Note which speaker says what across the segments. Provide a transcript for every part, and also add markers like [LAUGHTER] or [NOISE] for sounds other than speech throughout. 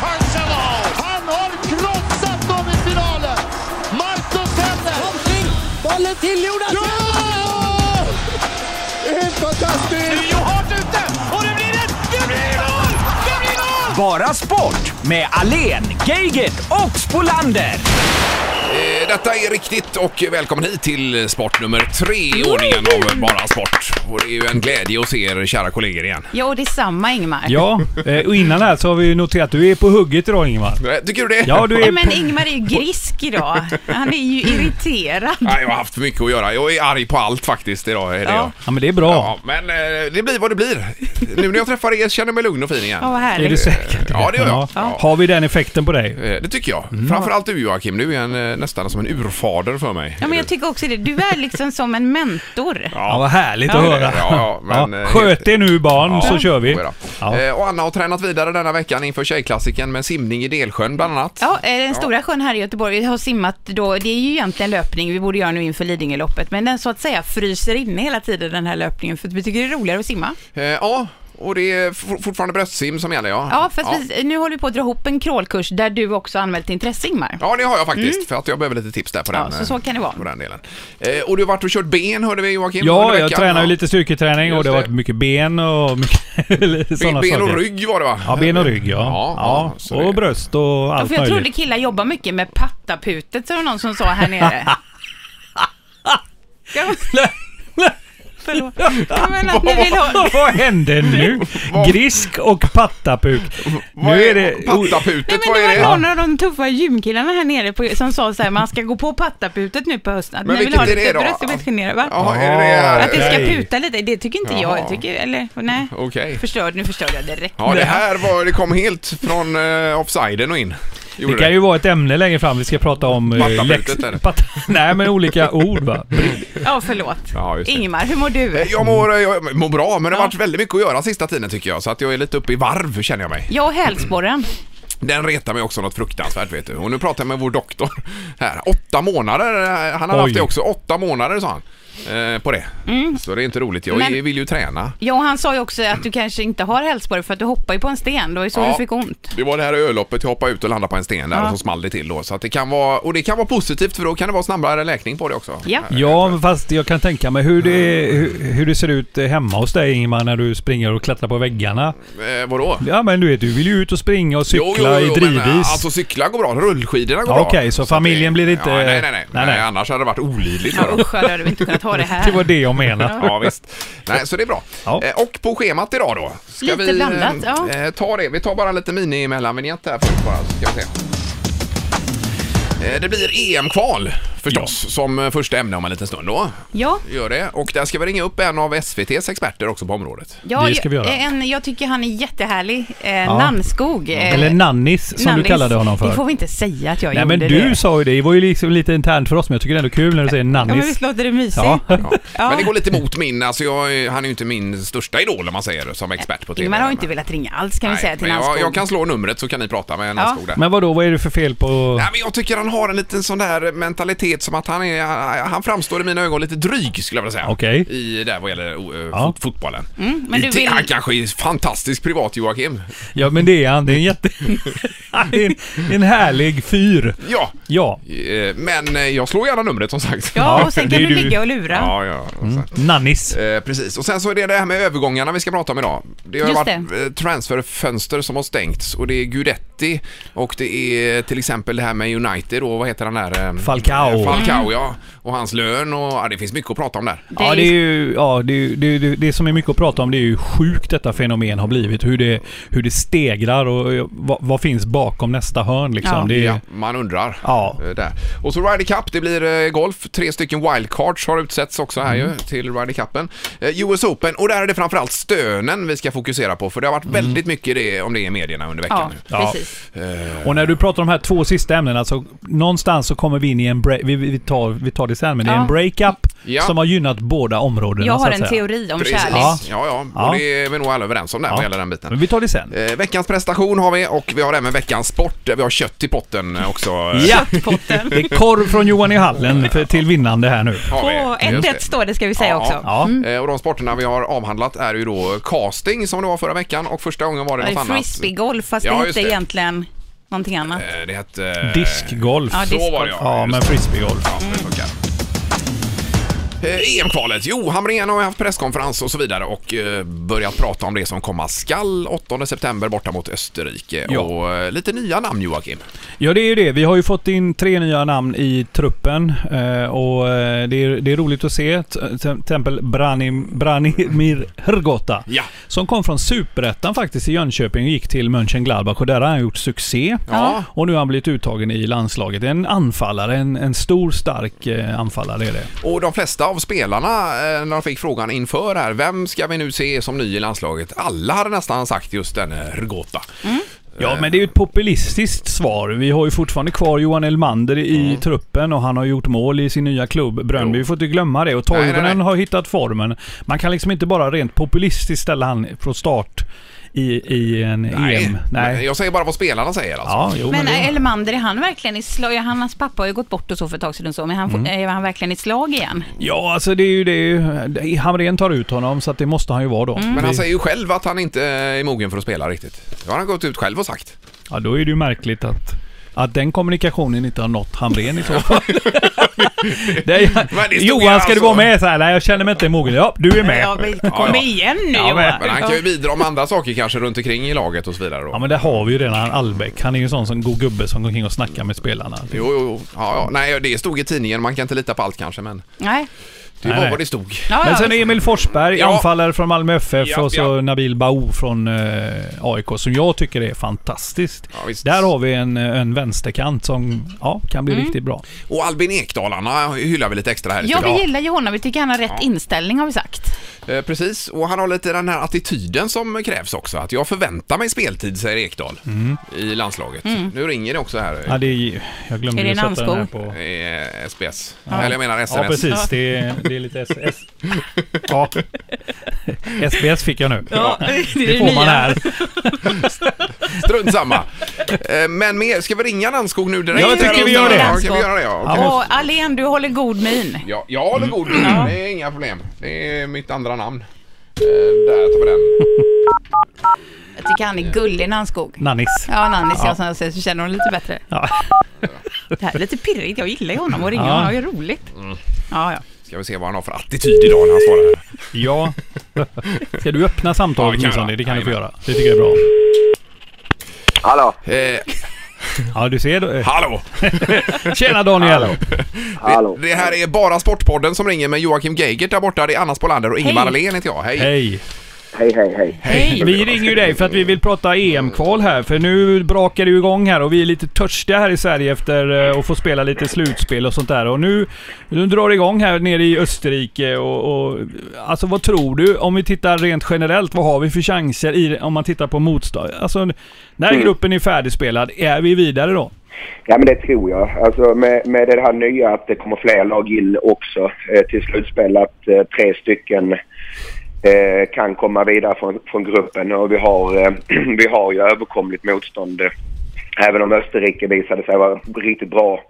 Speaker 1: Han har krossat dem i finalen! Marcus Hellner!
Speaker 2: Bollen till Jonas!
Speaker 1: Ja! Det är helt fantastiskt!
Speaker 3: Bara sport med Alen, Geigert och Spolander.
Speaker 4: Eh, Detta är riktigt och välkommen hit till sport nummer tre i ordningen av Bara Sport. Och det är ju en glädje att se er kära kollegor igen.
Speaker 5: Ja, och detsamma Ingmar.
Speaker 6: Ja, eh, och innan det här så har vi ju noterat att du är på hugget idag Ingemar.
Speaker 4: Eh, Tycker du det?
Speaker 6: Ja, du
Speaker 5: Nej,
Speaker 6: är...
Speaker 5: men Ingmar är ju grisk idag. Han är ju irriterad.
Speaker 4: Nej, jag har haft för mycket att göra. Jag är arg på allt faktiskt idag. Är det jag.
Speaker 5: Ja.
Speaker 6: Ja, men det är bra.
Speaker 4: Ja, men eh, det blir vad det blir. Nu när jag träffar er känner jag mig lugn och fin igen.
Speaker 5: Ja, vad
Speaker 6: Är du
Speaker 5: härligt.
Speaker 6: säker?
Speaker 4: Ja, det gör jag.
Speaker 6: Ja. Har vi den effekten på dig?
Speaker 4: Eh, Det tycker jag.
Speaker 6: Mm.
Speaker 4: Framförallt du Joakim, du är en, eh, nästan som en urfader för mig.
Speaker 5: Ja, men jag tycker också det. Du är liksom som en mentor.
Speaker 6: Ja, vad härligt att
Speaker 4: Ja.
Speaker 6: höra.
Speaker 4: Ja, ja, men, eh,
Speaker 6: Sköt er nu barn, så kör vi.
Speaker 4: Jodå.
Speaker 6: Ja.
Speaker 4: Eh, Och Anna har tränat vidare denna veckan inför Tjejklassiken med simning i Delsjön bland annat.
Speaker 5: Ja, eh, den stora sjön här i Göteborg har simmat då, det är ju egentligen löpning vi borde göra nu inför Lidingöloppet, men den så att säga fryser inne hela tiden den här löpningen för att vi tycker det är roligare att simma.
Speaker 4: Eh, Ja, och det är for- fortfarande bröstsim som gäller ja.
Speaker 5: Ja, för att Vi, nu håller vi på att dra ihop en crawlkurs där du också anmält intresse Ingmar.
Speaker 4: Ja, det har jag faktiskt, för att jag behöver lite tips där på
Speaker 5: Mm. Ja,
Speaker 4: den.
Speaker 5: så- så
Speaker 4: eh,
Speaker 5: kan det vara.
Speaker 4: På den delen. Eh, och du har varit och kört ben, hörde vi Joakim?
Speaker 6: Ja,
Speaker 4: under
Speaker 6: jag
Speaker 4: veckan.
Speaker 6: tränar ju
Speaker 4: Ja.
Speaker 6: lite styrketräning och
Speaker 4: Just
Speaker 6: det har
Speaker 4: det.
Speaker 6: varit mycket ben och [LAUGHS] mycket sådana
Speaker 4: Ben och
Speaker 6: saker.
Speaker 4: rygg var det va?
Speaker 6: Ja, ben och rygg ja.
Speaker 4: Ja,
Speaker 6: ja,
Speaker 4: ja, så det-
Speaker 6: Och bröst och
Speaker 5: Ja,
Speaker 6: allt
Speaker 5: för jag trodde
Speaker 6: möjligt.
Speaker 5: killar jobbar mycket med pattaputet, så var det någon som sa här
Speaker 4: [LAUGHS]
Speaker 5: nere. Ja, Förlåt. Jag menar, att ni vill ha...
Speaker 6: [LAUGHS] Vad
Speaker 4: [LAUGHS]
Speaker 6: hände nu? Grisk och pattapuk.
Speaker 4: Vad
Speaker 6: Nu är det...
Speaker 5: Nej,
Speaker 4: Pattaputet,
Speaker 5: men
Speaker 4: vad är
Speaker 5: det
Speaker 4: det?
Speaker 5: var någon av de tuffa gymkillarna här nere på, som sa så här, man ska gå på pattaputet nu på hösten. Att
Speaker 4: Men
Speaker 5: ni vill
Speaker 4: vilket
Speaker 5: ha
Speaker 4: är det
Speaker 5: lite
Speaker 4: då?
Speaker 5: bröst, jag blir generad va?
Speaker 4: Jaha, är det det här?
Speaker 5: Att det ska
Speaker 6: Okej.
Speaker 5: puta lite, det tycker inte jag.
Speaker 4: Jaha.
Speaker 5: jag tycker, eller, nej.
Speaker 4: Okej.
Speaker 5: Förstörd, nu förstörde jag direkt.
Speaker 4: Ja, det här var, det kom helt från eh, offsiden och in. Gjorde
Speaker 6: Det kan ju vara ett ämne längre fram vi ska prata om... eh,
Speaker 4: Pattaputet,
Speaker 6: läx-
Speaker 4: eller?
Speaker 6: Pat- [LAUGHS] Nej, men olika ord va?
Speaker 4: Mm.
Speaker 5: Ja, förlåt.
Speaker 4: Ja, just det. Eh,
Speaker 5: Ingmar, hur mår du?
Speaker 4: Jag mår, jag mår bra, men det har varit väldigt mycket att göra sista tiden tycker jag. Så att jag är lite uppe i varv känner jag mig.
Speaker 5: Jag och hälsporren.
Speaker 4: Den retar mig också något fruktansvärt vet du. Och nu pratar jag med vår doktor här. Åtta månader, eh, han har
Speaker 6: Oj. Mm.
Speaker 4: haft det också. Åtta månader sa han. Eh, på det. Så det är inte roligt. Jag
Speaker 5: Men-
Speaker 4: vill ju träna.
Speaker 5: Ja, och han sa ju också att du kanske inte har hälsporre för att du hoppar ju på en sten. Det var ju så
Speaker 4: Ja.
Speaker 5: du fick ont.
Speaker 4: Det var det här öloppet, jag hoppade ut och landade på en sten där
Speaker 5: Ja.
Speaker 4: och så small det till då. Så att det kan vara, och det kan vara positivt för då kan det vara snabbare läkning på det också.
Speaker 5: Ja.
Speaker 6: Ja, men fast jag kan tänka mig hur det, hur, hur det ser ut eh, hemma hos dig Ingemar när du springer och klättrar på väggarna.
Speaker 4: Eh, vadå?
Speaker 6: Ja men du vet, du vill ju ut och springa och
Speaker 4: Jo,
Speaker 6: cykla
Speaker 4: jo, jo,
Speaker 6: i drivis.
Speaker 4: Men, eh, alltså cykla går bra, rullskidorna går
Speaker 6: Ja,
Speaker 4: bra.
Speaker 6: okej, så
Speaker 4: att
Speaker 6: familjen blir inte-
Speaker 4: Ja, nej, nej, nej, nej,
Speaker 6: Nej, nej.
Speaker 4: Annars hade det varit olidligt.
Speaker 5: Ja,
Speaker 4: för dem.
Speaker 5: usch, då hade vi inte kunnat ha det här.
Speaker 6: det var det jag menade.
Speaker 4: Ja, visst. Nej, så det är bra.
Speaker 6: Ja.
Speaker 4: Eh, Och på schemat idag då. Ska
Speaker 5: Lite
Speaker 4: vi, eh,
Speaker 5: blandat, ja.
Speaker 4: eh, ta det. Vi tar bara lite mini mellanvinjett här först bara, så ska vi se. Eh, Det blir EM-kval förstås som eh, första ämne om en liten stund då.
Speaker 5: Ja,
Speaker 4: Gör det. Och där ska vi ringa upp en av SVTs experter också på området.
Speaker 5: ja
Speaker 6: Det ska vi göra.
Speaker 5: En, jag tycker han är jättehärlig. Eh, Nannskog. eh,
Speaker 6: Eller Nannis som
Speaker 5: Nannis.
Speaker 6: du kallade honom för.
Speaker 5: Det får vi inte säga att jag
Speaker 6: Nej
Speaker 5: gjorde
Speaker 6: men du
Speaker 5: det.
Speaker 6: sa ju det. Det var ju liksom lite internt för oss men jag tycker det är ändå kul när du säger
Speaker 5: Ja, men
Speaker 6: Nannis.
Speaker 5: visst låter det mysigt?
Speaker 6: Ja.
Speaker 4: Ja. Men det går lite emot min, alltså jag, är- han är ju inte min största idol om man säger som expert på TV.
Speaker 5: [LAUGHS] Ingmar har ju
Speaker 4: Men-
Speaker 5: inte velat ringa alls kan vi
Speaker 4: Nej,
Speaker 5: säga till
Speaker 4: men jag,
Speaker 5: Nannskog.
Speaker 4: jag kan slå numret så kan ni prata med Nannskog där.
Speaker 6: Men vadå, vad är det för fel på...
Speaker 4: Nej, men jag tycker han har en liten sån där mentalitet som att han är, han framstår i mina ögon lite dryg skulle jag vilja säga.
Speaker 6: Okej.
Speaker 4: I där vad gäller eh,
Speaker 6: Ja.
Speaker 4: fot, fotbollen.
Speaker 5: Mm, men
Speaker 4: I
Speaker 5: du
Speaker 4: te-
Speaker 5: vill-
Speaker 4: Han kanske är fantastisk privat Joakim.
Speaker 6: Ja men det är han. Det är en jätte... [LAUGHS] Han är en, en härlig fyr.
Speaker 4: Ja,
Speaker 6: Ja.
Speaker 4: eh, men eh, jag slår gärna numret som sagt.
Speaker 5: Ja, och sen
Speaker 6: det
Speaker 5: kan
Speaker 6: är
Speaker 5: du
Speaker 6: du.
Speaker 5: ligga och lura.
Speaker 4: [LAUGHS] Ja, ja. och
Speaker 6: Mm.
Speaker 4: så.
Speaker 6: Nannis.
Speaker 4: Eh, precis. Och sen så är det det här med övergångarna vi ska prata om idag. Det har ju
Speaker 5: Just
Speaker 4: varit eh, transferfönster som har stängts och det är Gudetti och det är till exempel det här med United och vad heter han där? eh,
Speaker 6: Falcao.
Speaker 4: Falcao ja. Och hans lön och ja, det finns mycket att prata om där.
Speaker 5: Det
Speaker 6: ja,
Speaker 5: är-
Speaker 6: det är ju, ja, det, är ju- det, är ju- det som är mycket att prata om det är ju hur sjukt detta fenomen har blivit. Hur det, hur det stegrar och eh, vad, vad finns bakom nästa hörn liksom.
Speaker 5: Ja.
Speaker 6: Det är,
Speaker 4: Ja, man undrar.
Speaker 6: Ja.
Speaker 4: Eh, Där. Och så Ryder Cup, det blir eh, golf. Tre stycken wildcards har utsetts också här ju till Ryder Cupen. Eh, US Open, och där är det framförallt stönen vi ska fokusera på för det har varit väldigt mycket det, om det i medierna under veckan.
Speaker 5: Ja,
Speaker 4: nu.
Speaker 6: Ja.
Speaker 5: precis.
Speaker 6: Och när du pratar om de här alltså, två sista ämnena så någonstans så kommer vi in i en break, vi, vi, vi, tar, vi tar det sen, men det är
Speaker 5: Ja.
Speaker 6: en breakup
Speaker 4: Ja.
Speaker 6: som har gynnat båda områdena.
Speaker 5: Jag har
Speaker 6: så att
Speaker 5: en
Speaker 6: säga.
Speaker 5: teori om
Speaker 4: Precis.
Speaker 5: kärlek.
Speaker 4: Ja,
Speaker 6: Ja.
Speaker 4: ja.
Speaker 6: Ja.
Speaker 4: Och det är vi nog alla överens om där vad
Speaker 6: Ja.
Speaker 4: gäller den biten.
Speaker 6: Men vi tar det sen.
Speaker 4: Eh, veckans prestation har vi och vi har även veckans sport där vi har kött i potten eh, också. eh,
Speaker 5: [LAUGHS]
Speaker 6: Ja! Det är korv från Johan i hallen för, till vinnande här nu.
Speaker 4: har vi.
Speaker 5: Åh,
Speaker 4: Just
Speaker 5: 1-1
Speaker 4: det.
Speaker 5: står det ska vi säga
Speaker 4: Ja,
Speaker 5: också.
Speaker 6: Ja.
Speaker 4: Eh, Och de sporterna vi har avhandlat är ju då casting som det var förra veckan och första gången var det
Speaker 5: Ja,
Speaker 4: något
Speaker 5: det är
Speaker 4: annat.
Speaker 5: Frisbeegolf, fast
Speaker 4: alltså. Ja,
Speaker 5: det
Speaker 4: just
Speaker 5: hette
Speaker 4: det.
Speaker 5: egentligen någonting annat.
Speaker 4: Eh, Det hette... eh,
Speaker 6: Diskgolf.
Speaker 5: Ja,
Speaker 4: Så var det
Speaker 6: Ja, men
Speaker 4: just det.
Speaker 6: frisbeegolf.
Speaker 4: Ja, det funkar. Eh, EM-kvalet. Jo, Hamrén har ju haft presskonferens och så vidare och eh, börjat prata om det som komma skall 8 september borta mot Österrike.
Speaker 6: Ja.
Speaker 4: Och eh, lite nya namn Joakim.
Speaker 6: Ja, det är ju det. Vi har ju fått in tre nya namn i truppen eh, och eh, det är, det är roligt att se. T- Till exempel Brani- Branimir Hrgota.
Speaker 4: Ja.
Speaker 6: Som kom från Superettan faktiskt i Jönköping och gick till Mönchengladbach och där har han gjort succé.
Speaker 4: Ja.
Speaker 6: Och nu har han blivit uttagen i landslaget. En anfallare, en, en stor stark eh, anfallare är det.
Speaker 4: Och de flesta av spelarna, eh, när de fick frågan inför här, vem ska vi nu se som ny i landslaget? Alla hade nästan sagt just den Rgota.
Speaker 6: Mm. Ja,
Speaker 4: Eh,
Speaker 6: men det är ju ett populistiskt svar. Vi har ju fortfarande kvar Johan Elmander i truppen och han har gjort mål i sin nya klubb Brönnby.
Speaker 4: Mm. Jo.
Speaker 6: Vi får inte glömma det. Och
Speaker 4: nej, nej.
Speaker 6: Toivonen har hittat formen. Man kan liksom inte bara rent populistiskt ställa han från start i, i en EM.
Speaker 4: men
Speaker 6: Nej.
Speaker 4: Jag säger bara vad spelarna säger alltså.
Speaker 6: Ja, jo, men,
Speaker 5: Men eh,
Speaker 6: det...
Speaker 5: Elmander, är han verkligen i slag? Ja, Hans pappa har ju gått bort och så för ett tag sedan och så, men han,
Speaker 6: Mm.
Speaker 5: är han verkligen i slag igen?
Speaker 6: ja, alltså det är ju det. Hamrén tar ut honom så att det måste han ju vara då.
Speaker 4: Men han
Speaker 6: Vi-
Speaker 4: säger ju själv att han inte är mogen för att spela riktigt. Det har han gått ut själv och sagt.
Speaker 6: Ja, då är det ju märkligt att, att den kommunikationen inte har nått Hamrén i
Speaker 4: [LAUGHS]
Speaker 6: så fall. det
Speaker 4: Men det
Speaker 6: är,
Speaker 4: stod
Speaker 6: Johan,
Speaker 4: ju
Speaker 6: ska du
Speaker 4: alltså-
Speaker 6: vara med? Så här, nej, jag känner mig inte mogen. Ja, du är med.
Speaker 5: Ja, men kom
Speaker 4: ja.
Speaker 5: igen nu
Speaker 6: Ja, men-
Speaker 5: Johan!
Speaker 4: Men han kan ju bidra med andra saker kanske runt omkring i laget och så vidare då.
Speaker 6: Ja men där har vi ju redan Albeck. Han är ju en sån som god gubbe som går omkring och snackar med spelarna.
Speaker 4: Jo, jo, jo. Ja, ja. Nej, det stod i tidningen. Man kan inte lita på allt kanske, men
Speaker 5: Nej.
Speaker 4: det
Speaker 6: Nej,
Speaker 4: var
Speaker 6: nej.
Speaker 4: vad det stod.
Speaker 5: Ja,
Speaker 6: Men
Speaker 5: ja,
Speaker 6: sen
Speaker 5: visst.
Speaker 6: Emil Forsberg,
Speaker 4: Ja.
Speaker 6: anfallare från Malmö FF
Speaker 4: Ja,
Speaker 6: och så
Speaker 4: ja.
Speaker 6: Nabil Baou från eh, AIK som jag tycker är fantastiskt.
Speaker 4: Ja, visst.
Speaker 6: Där har vi en, eh, en vänsterkant som ja, kan bli riktigt bra.
Speaker 4: Och Albin Ekdalarna hyllar vi lite extra här i
Speaker 5: ja,
Speaker 4: studion.
Speaker 5: vi gillar ju honom. Vi tycker han har rätt
Speaker 4: Ja.
Speaker 5: inställning har vi sagt.
Speaker 4: Eh, Precis, och han har lite den här attityden som krävs också. Att jag förväntar mig speltid, säger Ekdal
Speaker 6: Mm.
Speaker 4: i landslaget. Nu ringer det också
Speaker 6: Ja,
Speaker 4: här.
Speaker 6: det är, ju- jag glömde
Speaker 5: Är det
Speaker 6: ju
Speaker 5: en
Speaker 6: sätta den här
Speaker 5: anskog?
Speaker 6: på...
Speaker 4: eh, SBS. Eller jag menar SNS.
Speaker 6: Ja precis, det är, det är lite SS. Ja. SBS fick jag nu. Det får man här.
Speaker 4: Strunt samma. Eh, Men mer, ska vi ringa Nannskog nu direkt?
Speaker 6: Ja, jag tycker vi gör det.
Speaker 4: Ja, kan vi göra det? Ja, okej.
Speaker 6: Ja.
Speaker 5: Och Alén, du håller god min.
Speaker 4: Mm. Ja, jag håller god min. Det är inga problem. Det är mitt andra namn. Eh, Där tar vi den.
Speaker 5: Jag tycker han är gullig, Nannskog.
Speaker 6: Nannis.
Speaker 5: Ja, Nannis, ja. som jag säger, så känner hon lite bättre.
Speaker 6: Ja.
Speaker 5: Det här är lite pirrigt. Jag gillar ju honom och ringer
Speaker 6: Ja.
Speaker 5: honom. Det är roligt. Ja, ja.
Speaker 4: Ska vi se vad han har för attityd idag när han svarar här.
Speaker 6: Ja. Ska du öppna
Speaker 4: Ja, vi kan
Speaker 6: samtalet åtminstone?
Speaker 4: göra.
Speaker 6: Det kan du få
Speaker 4: Jajamän.
Speaker 6: göra. Det tycker jag är bra.
Speaker 7: Hallå,
Speaker 4: Eh,
Speaker 6: Ja, du ser. då.
Speaker 4: hallå!
Speaker 6: Tjena Daniel!
Speaker 7: hallå.
Speaker 4: Det här är bara Sportpodden som ringer med Joakim Geigert där borta. Det är Anna Spolander och Ingemar Ahlén heter jag. Hej!
Speaker 6: Hej!
Speaker 7: Hej, hej, hej.
Speaker 5: Hej!
Speaker 6: Vi ringer ju dig för att vi vill prata EM-kval här, för nu brakar det ju igång här och vi är lite törstiga här i Sverige efter eh, att få spela lite slutspel och sånt där. Och nu, nu drar det igång här nere i Österrike och, och... Alltså vad tror du? Om vi tittar rent generellt, vad har vi för chanser i, om man tittar på motstånd? Alltså, när gruppen är färdigspelad, är vi vidare då?
Speaker 7: Ja men det tror jag. Alltså med, med det här nya att det kommer fler lag in också eh, till slutspel att eh, tre stycken eh, kan komma vidare från, från gruppen och vi har, eh, [CLEARS THROAT] vi har ju överkomligt motstånd. eh, Även om Österrike visade sig vara riktigt bra,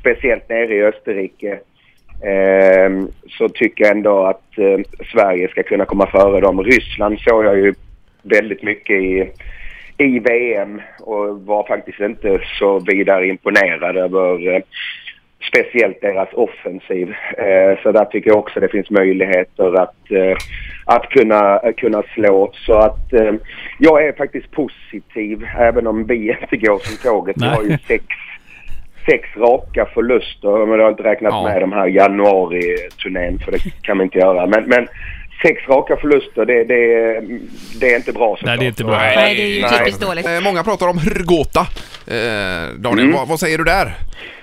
Speaker 7: speciellt nere i Österrike, eh, så tycker jag ändå att eh, Sverige ska kunna komma före dem. Ryssland såg jag ju väldigt mycket i, i VM och var faktiskt inte så vidare imponerad över eh, speciellt deras offensiv. Eh, så där tycker jag också det finns möjligheter att, eh, att kunna, eh, kunna slå. Så att eh, jag är faktiskt positiv även om vi inte går som tåget. Vi har ju
Speaker 6: Nej.
Speaker 7: sex Sex raka förluster, men jag har inte räknat
Speaker 4: Ja.
Speaker 7: med de här januari-turnén för det kan vi inte göra. Men, men sex raka förluster, det, det, det är inte bra såklart.
Speaker 6: Nej, det är inte bra.
Speaker 5: Nej, det är ju
Speaker 4: Nej.
Speaker 5: typiskt dåligt.
Speaker 4: Eh, många pratar om Hrgota. Eh, Daniel, vad, vad säger du där?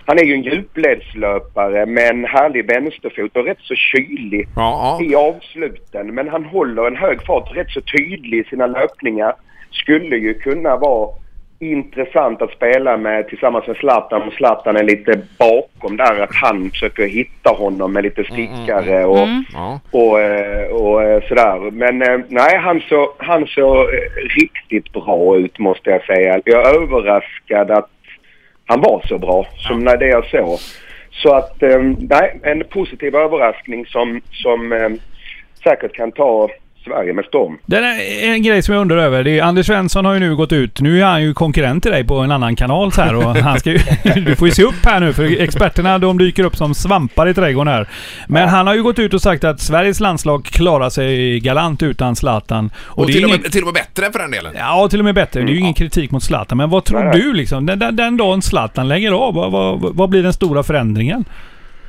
Speaker 7: Han är ju en djupledslöpare med en härlig vänsterfot och rätt så kylig
Speaker 4: Ja, ja.
Speaker 7: i avsluten. Men han håller en hög fart, rätt så tydlig i sina löpningar. Skulle ju kunna vara intressant att spela med tillsammans med Zlatan. Och Zlatan är lite bakom där, att han försöker hitta honom med lite stickare och,
Speaker 4: Ja.
Speaker 7: och, eh, och eh, sådär. Men eh, nej, han såg han så riktigt bra ut måste jag säga. Jag är överraskad att han var så bra som när det jag såg. Så att, eh, nej, en positiv överraskning som, som eh, säkert kan ta Sverige med storm.
Speaker 6: Den är en grej som jag undrar över. Det är, Anders Svensson har ju nu gått ut. Nu är han ju konkurrent till dig på en annan kanal så här och han ska ju, [LAUGHS] Du får ju se upp här nu för experterna de dyker upp som svampar i trädgården här. Men han har ju gått ut och sagt att Sveriges landslag klarar sig galant utan Zlatan.
Speaker 4: Och,
Speaker 6: det är
Speaker 4: till, och
Speaker 6: ingen-
Speaker 4: med, till och med bättre för den delen.
Speaker 6: Ja, till och med bättre. Det är ju ingen kritik mot Zlatan. Men vad tror
Speaker 7: Nej.
Speaker 6: du liksom? Den, den, den dagen Zlatan lägger av, vad, vad, vad blir den stora förändringen?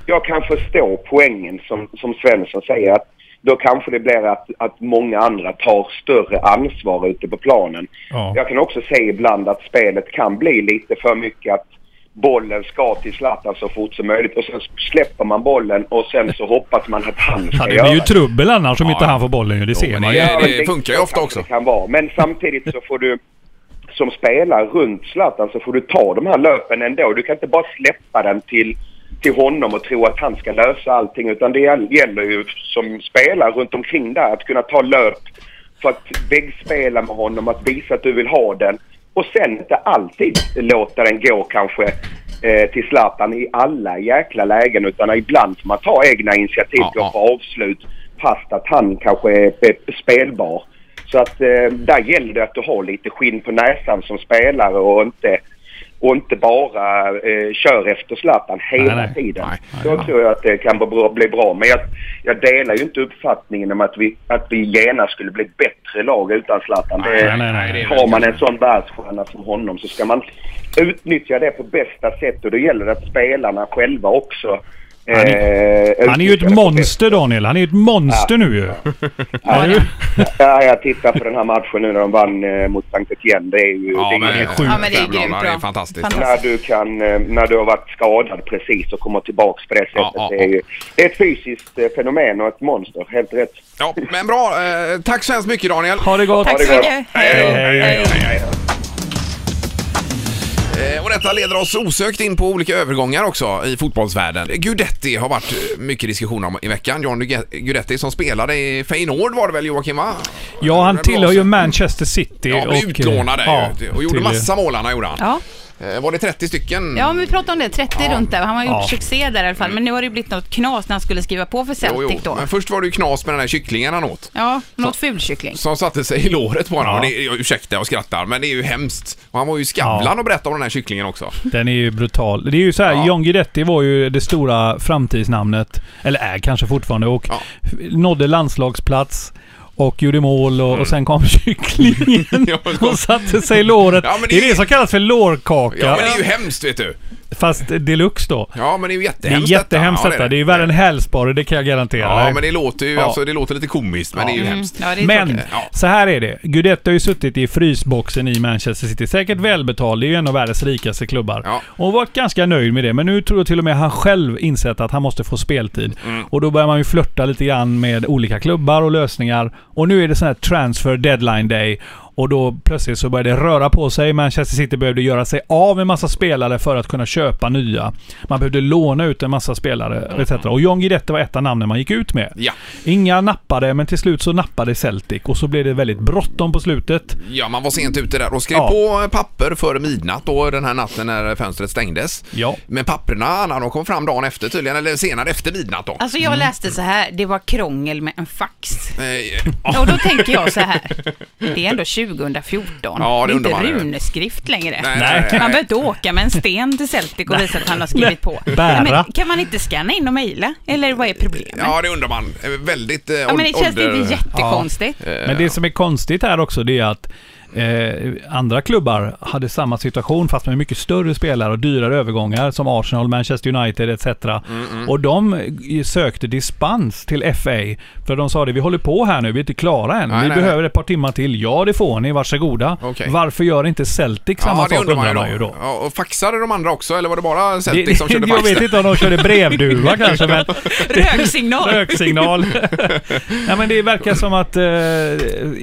Speaker 7: jag kan förstå poängen som, som Svensson säger. Att då kanske det blir att, att många andra tar större ansvar ute på planen.
Speaker 6: Ja.
Speaker 7: Jag kan också säga ibland att spelet kan bli lite för mycket att bollen ska till Zlatan så fort som möjligt och sen släpper man bollen och sen så hoppas man att han
Speaker 6: Ja,
Speaker 7: ska
Speaker 6: det
Speaker 7: göra
Speaker 6: blir ju
Speaker 7: det.
Speaker 6: trubbel annars om
Speaker 4: Ja.
Speaker 6: inte han får bollen ju. Det ser
Speaker 4: men
Speaker 6: man
Speaker 4: det-
Speaker 6: ju.
Speaker 7: Ja,
Speaker 4: det
Speaker 7: men
Speaker 4: funkar ju
Speaker 7: så
Speaker 4: ofta
Speaker 7: kanske
Speaker 4: också.
Speaker 7: det Kan vara. Men samtidigt så får du som spelare runt Zlatan så får du ta de här löpen ändå. Du kan inte bara släppa den till, till honom och tro att han ska lösa allting. Utan det gäll- gäller ju som spelare runt omkring där att kunna ta löp för att väggspela med honom, att visa att du vill ha den. Och sen inte alltid låta den gå kanske eh, till Zlatan i alla jäkla lägen utan ibland får man ta egna initiativ
Speaker 4: Ja,
Speaker 7: till
Speaker 4: ja.
Speaker 7: att få avslut fast att han kanske är be- spelbar. Så att eh, där gäller det att du har lite skinn på näsan som spelare och inte, och inte bara eh, kör efter Zlatan hela
Speaker 6: Nej, nej.
Speaker 7: tiden.
Speaker 4: Nej,
Speaker 7: Då tror jag att det kan bli bra. Bli bra. Men jag, jag delar ju inte uppfattningen om att vi, att vi genast skulle bli ett bättre lag utan Zlatan. Det-
Speaker 6: Nej, nej, nej, nej.
Speaker 7: har man en sån världsstjärna som honom så ska man utnyttja det på bästa sätt och då gäller det att spelarna själva också eh,
Speaker 6: Han Han är ju
Speaker 7: utnyttjar det
Speaker 6: ett
Speaker 7: på
Speaker 6: monster Daniel. Han är ju ett monster nu ju. Han är ju-
Speaker 7: bästa- Ja, jag tittar på den här matchen nu när de vann eh, mot Sankt Etienne. Det är ju... det är ju
Speaker 4: men-
Speaker 7: helt
Speaker 6: sjukt.
Speaker 5: Ja, men det är
Speaker 4: Femnolla,
Speaker 5: grymt bra.
Speaker 4: Det är fantastiskt.
Speaker 5: Fantastiskt.
Speaker 7: när du, kan, eh, när du har varit skadad precis och kommer tillbaks på det sättet.
Speaker 4: Ja, ja,
Speaker 7: Det, är ju, det är ett fysiskt eh, fenomen och ett monster, helt rätt.
Speaker 4: Ja, men bra. Eh, tack så hemskt mycket Daniel.
Speaker 6: Ha det gott.
Speaker 5: Tack så
Speaker 7: det gott.
Speaker 5: mycket. Hej.
Speaker 6: Hej, hej,
Speaker 5: Hej.
Speaker 4: Eh, Och detta leder oss osökt in på olika övergångar också i fotbollsvärlden. Gudetti har varit eh, mycket diskussion om i veckan. John Guge- Gudetti som spelade i Feyenoord var det väl Joakim va?
Speaker 6: Ja, han
Speaker 4: Det var
Speaker 6: tillhör ju
Speaker 4: så-
Speaker 6: Manchester City. eh,
Speaker 4: Ja, blev utlånad där
Speaker 6: ja,
Speaker 4: ju. Och gjorde
Speaker 6: till-
Speaker 4: massa mål han gjorde han.
Speaker 5: Ja.
Speaker 4: Eh, Var det 30 stycken?
Speaker 5: Ja, men vi pratade om det, 30 runt där. Han har gjort
Speaker 6: Ja.
Speaker 5: succé där i alla fall. Men nu har det ju blivit något knas när han skulle skriva på för Celtic
Speaker 4: Mm. Jo, jo.
Speaker 5: då.
Speaker 4: Men först var det ju knas med den här kycklingen han åt.
Speaker 5: Ja, något fulkyckling.
Speaker 4: Som satte sig i låret på honom.
Speaker 6: Ja.
Speaker 4: Och Det, jag, ursäkta, jag skrattar, men det är ju hemskt. Och han var ju i Skavlan
Speaker 6: Ja.
Speaker 4: och berättade om den här kycklingen också.
Speaker 6: Den är ju brutal. Det är ju så här,
Speaker 4: Ja.
Speaker 6: John Guidetti var ju det stora framtidsnamnet. Eller är kanske fortfarande. Och
Speaker 4: Ja.
Speaker 6: f- nådde landslagsplats. Och gjorde mål och, och sen kom [LAUGHS] kycklingen
Speaker 4: Mm. Ja, men-
Speaker 6: och satte sig i låret.
Speaker 4: Ja, men
Speaker 6: det,
Speaker 4: det
Speaker 6: är
Speaker 4: är-
Speaker 6: det som kallas för lårkaka.
Speaker 4: Ja, men det är ju hemskt vet du.
Speaker 6: Fast deluxe då.
Speaker 4: Ja, men det är ju
Speaker 6: Det är
Speaker 4: jättehemskt
Speaker 6: jättehemskt
Speaker 4: Ja,
Speaker 6: detta. Det är ju värre än hälsporre, det kan jag garantera
Speaker 4: Ja,
Speaker 6: dig.
Speaker 4: men det låter ju
Speaker 6: Ja. Mm.
Speaker 4: alltså, det låter lite komiskt, men det är ju hemskt.
Speaker 5: Ja, det är
Speaker 6: Men
Speaker 5: tråkigt.
Speaker 4: Ja.
Speaker 6: så här är det. Guidetti har ju suttit i frysboxen i Manchester City. Säkert välbetald. Det är ju en av världens rikaste klubbar.
Speaker 4: Ja.
Speaker 6: Och varit ganska nöjd med det. Men nu tror jag till och med han själv insett att han måste få speltid.
Speaker 5: Mm.
Speaker 6: Och då börjar man ju flörta lite grann med olika klubbar och lösningar. Och nu är det sån här transfer deadline day. Och då plötsligt så började det röra på sig. Manchester City behövde göra sig av med massa spelare för att kunna köpa nya. Man behövde låna ut en massa
Speaker 5: Mm.
Speaker 6: spelare etc. Och John Guidetti var ett av namnen man gick ut med.
Speaker 4: Ja.
Speaker 6: Inga nappade, men till slut så nappade Celtic och så blev det väldigt bråttom på slutet.
Speaker 4: Ja, man var sent ute där och skrev
Speaker 6: Ja.
Speaker 4: på eh, papper före midnatt då, den här natten när fönstret stängdes.
Speaker 6: Ja.
Speaker 4: Men papperna, när de kom fram dagen efter tydligen, eller senare efter midnatt då.
Speaker 5: Alltså jag läste så här, det var krångel med en fax.
Speaker 4: Eh, ja.
Speaker 5: Ja, Och då tänker jag så här,
Speaker 4: [LAUGHS]
Speaker 5: det är ändå 2014.
Speaker 4: Ja, det
Speaker 5: det är inte
Speaker 4: undrar man ju.
Speaker 5: runeskrift längre.
Speaker 4: Nej, nej, nej.
Speaker 5: Man behöver inte åka med en sten till Celtic och visa att han har skrivit på.
Speaker 6: Bära.
Speaker 5: Men kan man inte scanna in och mejla? Eller vad är problemet? Ja,
Speaker 4: ja, det undrar man. Eh, Väldigt eh,
Speaker 5: men det
Speaker 4: ål-
Speaker 5: känns
Speaker 4: ålder-
Speaker 5: lite jättekonstigt.
Speaker 4: Eh,
Speaker 6: Men det som är konstigt här också det är att eh, andra klubbar hade samma situation fast med mycket större spelare och dyrare övergångar som Arsenal, Manchester United etc. Och de eh, sökte dispens till FA för de sa det, vi håller på här nu, vi är inte klara än.
Speaker 4: Nej,
Speaker 6: vi
Speaker 4: nej,
Speaker 6: behöver ett par timmar till. Ja, det får ni, varsågoda.
Speaker 4: Okej.
Speaker 6: Varför gör inte Celtic samma
Speaker 4: Ja, det
Speaker 6: sak
Speaker 4: undrar man ju då.
Speaker 6: ju då.
Speaker 4: Ja, och faxade de andra också, eller var det bara
Speaker 6: Det,
Speaker 4: Celtic som körde
Speaker 6: [LAUGHS] jag
Speaker 4: fax?
Speaker 6: vet inte om de körde
Speaker 4: [LAUGHS]
Speaker 6: brevduva kanske, men
Speaker 5: Röksignal.
Speaker 6: Röksignal. Nej men det verkar som att, eh,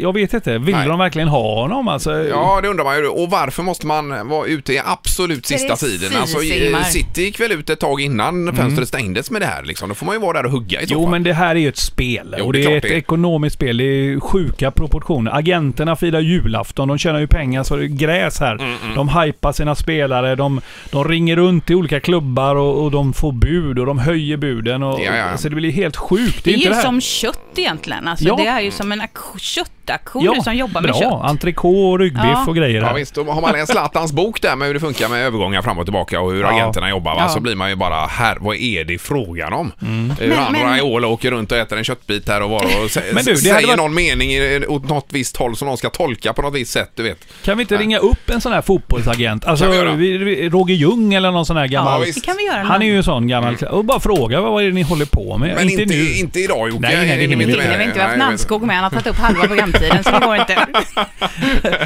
Speaker 6: jag vet inte, vill
Speaker 4: Nej.
Speaker 6: de verkligen ha honom? om alltså.
Speaker 4: Ja, det undrar man ju. Och varför måste man vara ute i absolut sista
Speaker 5: Precis,
Speaker 4: tiden? Alltså, i-
Speaker 5: Ingmar.
Speaker 4: City gick väl ut ett tag innan fönstret stängdes med det här. Liksom. Då får man ju vara där och hugga i så
Speaker 6: Jo,
Speaker 4: fall.
Speaker 6: men det här är ju ett spel.
Speaker 4: Jo,
Speaker 6: och
Speaker 4: det är
Speaker 6: det är,
Speaker 4: klart
Speaker 6: ett
Speaker 4: det är.
Speaker 6: ekonomiskt spel. Det är sjuka proportioner. Agenterna firar julafton. De tjänar ju pengar så det är gräs här.
Speaker 4: Mm,
Speaker 6: De hypar sina spelare. De, de ringer runt till olika klubbar och, och de får bud och de höjer buden. Och,
Speaker 4: Ja, ja.
Speaker 6: Så det blir helt sjukt.
Speaker 5: Det är
Speaker 6: inte
Speaker 5: ju
Speaker 6: det här.
Speaker 5: som kött egentligen. Alltså,
Speaker 6: Ja.
Speaker 5: Det är ju som en ak- köttaktion du som jobbar med
Speaker 6: bra.
Speaker 5: kött.
Speaker 6: Entrecote och ryggbiff
Speaker 5: Ja.
Speaker 6: och grejer.
Speaker 4: Ja,
Speaker 6: här.
Speaker 4: visst, då har man läst Zlatans bok där med hur det funkar med övergångar fram och tillbaka och hur
Speaker 6: Ja. Mm.
Speaker 4: agenterna jobbar va?
Speaker 5: Ja.
Speaker 4: så blir man ju bara här, vad är det frågan om? Eh, Hur
Speaker 5: Men-
Speaker 4: han
Speaker 5: men-
Speaker 4: Raiola åker runt och äter en köttbit här och var och sä-
Speaker 6: Men du, det hade
Speaker 4: säger
Speaker 6: varit-
Speaker 4: någon mening i- åt något visst håll som någon ska tolka på något visst sätt, du vet.
Speaker 6: Kan vi inte ringa upp en sån här fotbollsagent? Alltså,
Speaker 4: Kan vi göra.
Speaker 6: vi vi, Roger Ljung eller någon sån här gammal...
Speaker 4: Ja,
Speaker 5: Det
Speaker 4: visst. Mm.
Speaker 5: kan vi göra.
Speaker 6: han är ju en sån gammal... Och bara fråga vad är det ni håller på med?
Speaker 4: Men inte, inte,
Speaker 6: nu.
Speaker 4: idag Jocke.
Speaker 6: Nej, nej, det
Speaker 4: Är ni
Speaker 6: hinner vi
Speaker 5: Det
Speaker 6: inte
Speaker 5: hinner vi inte. Vi har haft
Speaker 4: Nej,
Speaker 5: Namnskog med. Han har tagit upp halva programtiden så det
Speaker 4: [LAUGHS]
Speaker 5: går inte.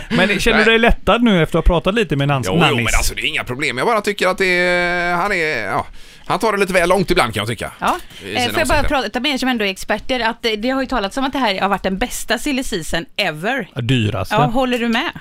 Speaker 6: Men känner du dig lättad nu efter att ha pratat lite med Nans,
Speaker 4: Jo, jo, men
Speaker 6: Nannis?
Speaker 4: alltså det är inga problem. Jag bara tycker att det är, han är, ja, han tar det lite väl långt ibland kan jag tycka.
Speaker 5: Ja.
Speaker 4: I
Speaker 5: Eh,
Speaker 4: sina
Speaker 5: Får jag bara
Speaker 4: åsikter.
Speaker 5: prata ta med er som ändå är experter. Att eh, det har ju talats om att det här har varit den bästa silly season ever.
Speaker 6: Dyraste.
Speaker 5: Ja,
Speaker 6: Ja.
Speaker 5: håller du med?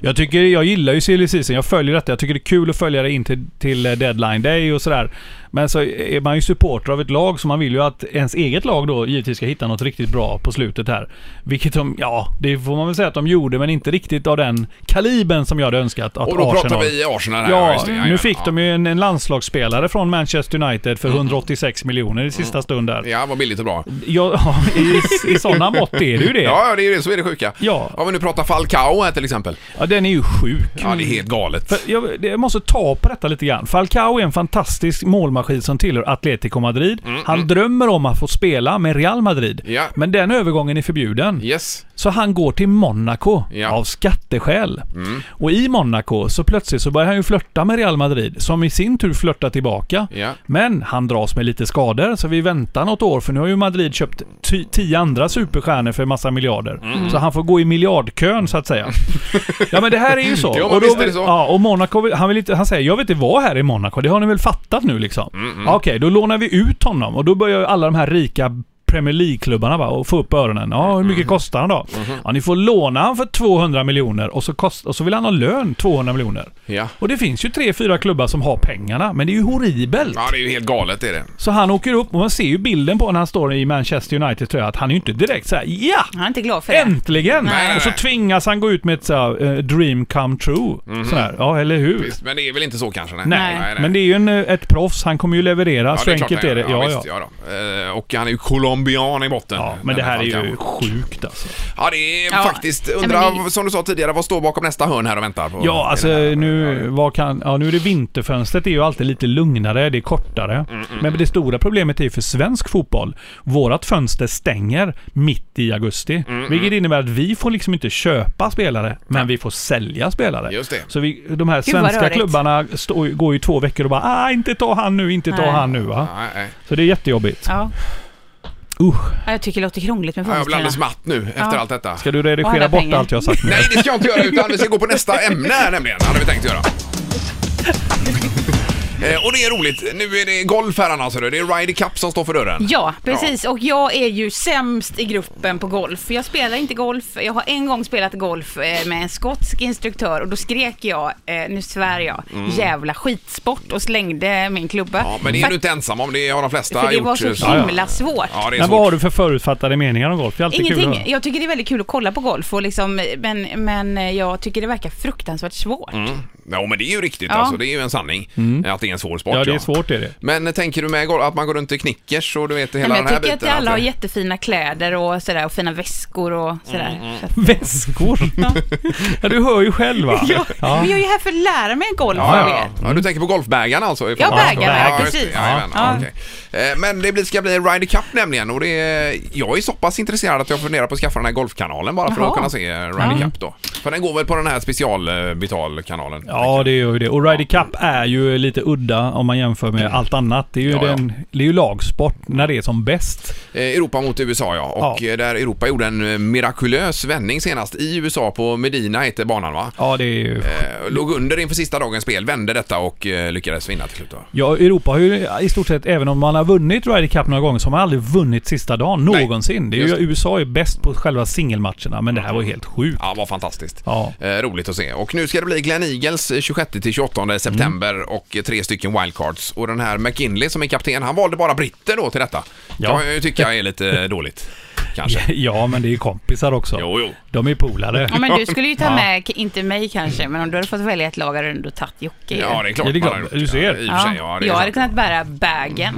Speaker 6: jag tycker, jag gillar ju silly season. Jag följer detta. Jag tycker det är kul att följa det in till, till eh, deadline day och sådär. Men så är man ju supporter av ett lag så man vill ju att ens eget lag då givetvis ska hitta något riktigt bra på slutet här. Vilket de, ja, det får man väl säga att de gjorde men inte riktigt av den kalibern som jag hade önskat att
Speaker 4: Och då
Speaker 6: Arsenal...
Speaker 4: pratar vi Arsenal här.
Speaker 6: Ja,
Speaker 4: just det.
Speaker 6: nu fick
Speaker 4: ja.
Speaker 6: de ju en, en landslagsspelare från Manchester United
Speaker 4: Mm.
Speaker 6: för 186 miljoner i sista stund där.
Speaker 4: Ja, vad billigt och bra.
Speaker 6: Ja, ja, [LAUGHS] i, i sådana mått är det ju det.
Speaker 4: Ja, ja, det är ju det som är det sjuka.
Speaker 6: Ja.
Speaker 4: Om vi nu pratar Falcao här till exempel.
Speaker 6: Ja, den är ju sjuk.
Speaker 4: Ja, det är helt galet.
Speaker 6: Mm. För jag, det- jag måste ta på detta lite grann. Falcao är en fantastisk målmaskin som tillhör Atletico Madrid. han drömmer om att få spela med Real Madrid.
Speaker 4: Mm, Ja.
Speaker 6: Men den övergången är förbjuden.
Speaker 4: Yes.
Speaker 6: Så han går till Monaco
Speaker 4: Ja. Mm.
Speaker 6: av skatteskäl. Och i Monaco så plötsligt så börjar han ju flörta med Real Madrid, som i sin tur flörtar tillbaka.
Speaker 4: Ja.
Speaker 6: Men han dras med lite skador, så vi väntar något år för nu har ju Madrid köpt ty- tio andra superstjärnor för massa miljarder.
Speaker 4: Mm.
Speaker 6: Så han får gå i miljardkön så
Speaker 4: [LAUGHS]
Speaker 6: att säga. ja men det här är ju så.
Speaker 4: Jo, men
Speaker 6: och,
Speaker 4: visst är
Speaker 6: vill,
Speaker 4: det så.
Speaker 6: Ja, och Monaco, vill- han, vill inte, han säger jag vill inte vara här i Monaco, det har ni väl fattat nu liksom?
Speaker 4: Mm,
Speaker 6: Ja, Okej, då lånar vi ut honom och då börjar ju alla de här rika Premier League-klubbarna bara och få upp öronen. Ja, hur
Speaker 4: Mm.
Speaker 6: mycket kostar han då?
Speaker 4: Mm-hmm.
Speaker 6: Ja, ni får låna han för 200 miljoner och, så kost- och så vill han ha lön 200 miljoner.
Speaker 4: Ja.
Speaker 6: Och det finns ju tre, fyra klubbar som har pengarna, men det är ju horribelt.
Speaker 4: ja, det är ju helt galet är det.
Speaker 6: Så han åker upp och man ser ju bilden på när han står i Manchester United tror jag att han är ju inte direkt så här: ja!
Speaker 5: Han är inte glad för det.
Speaker 6: Äntligen!
Speaker 4: Nej, nej,
Speaker 6: Och så
Speaker 4: nej.
Speaker 6: tvingas han gå ut med ett så här, eh, dream come true.
Speaker 4: Mm-hmm.
Speaker 6: Så här, ja, eller hur?
Speaker 4: Visst, men det är väl inte så kanske? Nej.
Speaker 6: Nej. men det är ju en, eh, ett proffs. Han kommer ju leverera.
Speaker 4: Ja,
Speaker 6: så
Speaker 4: klart
Speaker 6: enkelt är det. Ja, ja.
Speaker 4: visst, ja. då. Eh, Och han är ju colombian i botten.
Speaker 6: Ja, men det
Speaker 4: Den
Speaker 6: här är ju
Speaker 4: Falcao.
Speaker 6: sjukt alltså.
Speaker 4: Ja, det är
Speaker 5: Ja.
Speaker 4: faktiskt...
Speaker 5: Nej, men
Speaker 4: Undra,
Speaker 5: det-
Speaker 4: som du sa tidigare, vad står bakom nästa hörn här och väntar? På
Speaker 6: Ja, alltså
Speaker 4: Ja,
Speaker 6: nu, vad kan, ja, nu är det vinterfönstret. Det är ju alltid lite lugnare, det är kortare. Men det stora problemet är ju för svensk fotboll. Vårat fönster stänger mitt i augusti. Vilket innebär att vi får liksom inte köpa spelare, men vi får sälja spelare.
Speaker 4: Just det.
Speaker 6: Så vi, de här
Speaker 5: vad
Speaker 6: svenska
Speaker 5: rörigt.
Speaker 6: klubbarna står, går ju två veckor och bara ah, inte ta han nu, inte ta
Speaker 5: Nej.
Speaker 6: han nu va.
Speaker 4: Nej, nej.
Speaker 6: Så det är jättejobbigt.
Speaker 5: Ja.
Speaker 6: Usch.
Speaker 5: Ja, Jag tycker det låter krångligt med
Speaker 4: Ja, Jag blir alldeles
Speaker 5: fönstren.
Speaker 4: matt nu efter
Speaker 5: Ja.
Speaker 4: allt detta.
Speaker 6: Ska du
Speaker 5: Och
Speaker 6: redigera
Speaker 5: alla
Speaker 6: bort
Speaker 5: pengar.
Speaker 6: allt jag har [LAUGHS] sagt nu?
Speaker 4: Nej, det ska jag inte göra utan vi ska gå på nästa ämne här nämligen, hade vi tänkt
Speaker 5: [LAUGHS]
Speaker 4: göra. Eh, Och det är roligt. Nu är det golf här Anna, ser du. Det är Ryder Cup som står för dörren.
Speaker 5: Ja, precis. Och jag är ju sämst i gruppen på golf. Jag spelar inte golf. Jag har en gång spelat golf eh, med en skotsk instruktör och då skrek jag, eh, nu svär jag, jävla skitsport och slängde min klubba.
Speaker 4: Mm. Ja, men det är
Speaker 5: För-
Speaker 4: du inte ensam om. Det har de flesta
Speaker 5: För det
Speaker 4: gjort.
Speaker 5: var så
Speaker 4: Ja,
Speaker 5: himla svårt.
Speaker 4: Ja, det är
Speaker 6: Men vad har
Speaker 4: svårt.
Speaker 6: du för förutfattade meningar om golf? Det är alltid kul att
Speaker 5: Ingenting.
Speaker 6: höra.
Speaker 5: Jag tycker det är väldigt kul att kolla på golf, och liksom, men, men jag tycker det verkar fruktansvärt svårt.
Speaker 4: Mm. Ja, men det är ju riktigt
Speaker 5: Ja.
Speaker 4: alltså. Det är ju en sanning att det är en svår sport.
Speaker 6: Mm. Ja, det är svårt är det.
Speaker 4: Men eh, tänker du med gol- att man går runt i knickers och du vet
Speaker 5: Nej,
Speaker 4: hela
Speaker 5: men jag
Speaker 4: den här
Speaker 5: tycker
Speaker 4: biten? alltså?
Speaker 5: att alla har
Speaker 4: att det-
Speaker 5: jättefina kläder och, sådär, och fina väskor och sådär.
Speaker 4: Mm,
Speaker 5: Så att- [LAUGHS]
Speaker 6: Väskor? [LAUGHS] ja, du hör ju själv va?
Speaker 5: Ja. Men jag är ju här för att lära mig golf
Speaker 4: Ja,
Speaker 5: av
Speaker 4: ja,
Speaker 5: er.
Speaker 4: ja. ja, du tänker på golfbägarna alltså? ifall-
Speaker 5: Ja, bägarna, ja,
Speaker 4: just det.
Speaker 5: precis.
Speaker 4: Jajamän,
Speaker 5: Ja.
Speaker 4: okej. Eh, Men det blir- ska bli Ryder Cup nämligen och det är, jag är så pass intresserad att jag funderar på att skaffa den här golfkanalen bara för
Speaker 5: Jaha.
Speaker 4: att kunna se Ryder Cup då. För den går väl på den här specialbetalkanalen?
Speaker 6: Ja, Ja, det gör ju det. Och Ryder Cup är ju lite udda om man jämför med allt annat. Det är ju,
Speaker 4: Ja, ja.
Speaker 6: den, Det är ju lagsport när det är som bäst.
Speaker 4: Eh, Europa mot USA ja, och
Speaker 6: Ja.
Speaker 4: eh, där Europa gjorde en eh, mirakulös vändning senast i USA på Medina hette banan va?
Speaker 6: Ja, det är ju...
Speaker 4: Eh, Låg under inför sista dagens spel, vände detta och eh, lyckades vinna till slut då.
Speaker 6: Ja, Europa har ju i stort sett, även om man har vunnit Ryder Cup några gånger, så har man aldrig vunnit sista dagen
Speaker 4: Nej,
Speaker 6: någonsin. Det är ju,
Speaker 4: just Mm.
Speaker 6: USA är bäst på själva singelmatcherna, men det här var ju helt sjukt. [LAUGHS]
Speaker 4: Ja, var fantastiskt.
Speaker 6: Ja.
Speaker 4: Eh, roligt att se. Och nu ska det bli Glen Eagles eh, 26-28 september
Speaker 6: Mm.
Speaker 4: och eh, tre stycken wildcards. Och den här McKinley som är kapten, han valde bara britter då till detta.
Speaker 6: Ja.
Speaker 4: Kan man ju tycka är lite [LAUGHS] dåligt. Kanske.
Speaker 6: Ja, men det är ju kompisar också.
Speaker 4: Jo, jo.
Speaker 6: De är polare.
Speaker 5: Ja, men du skulle ju ta
Speaker 6: Ja.
Speaker 5: med, k- inte mig kanske, men om du hade fått välja ett lag hade du ändå tagit Jocke. ju.
Speaker 4: Ja, det är klart.
Speaker 6: Ja, det är
Speaker 4: man
Speaker 6: klart.
Speaker 4: har gjort
Speaker 6: Du ser.
Speaker 4: Ja, i och för sig, ja, det är
Speaker 5: jag hade
Speaker 4: sant. Mm.
Speaker 5: kunnat bära bagen.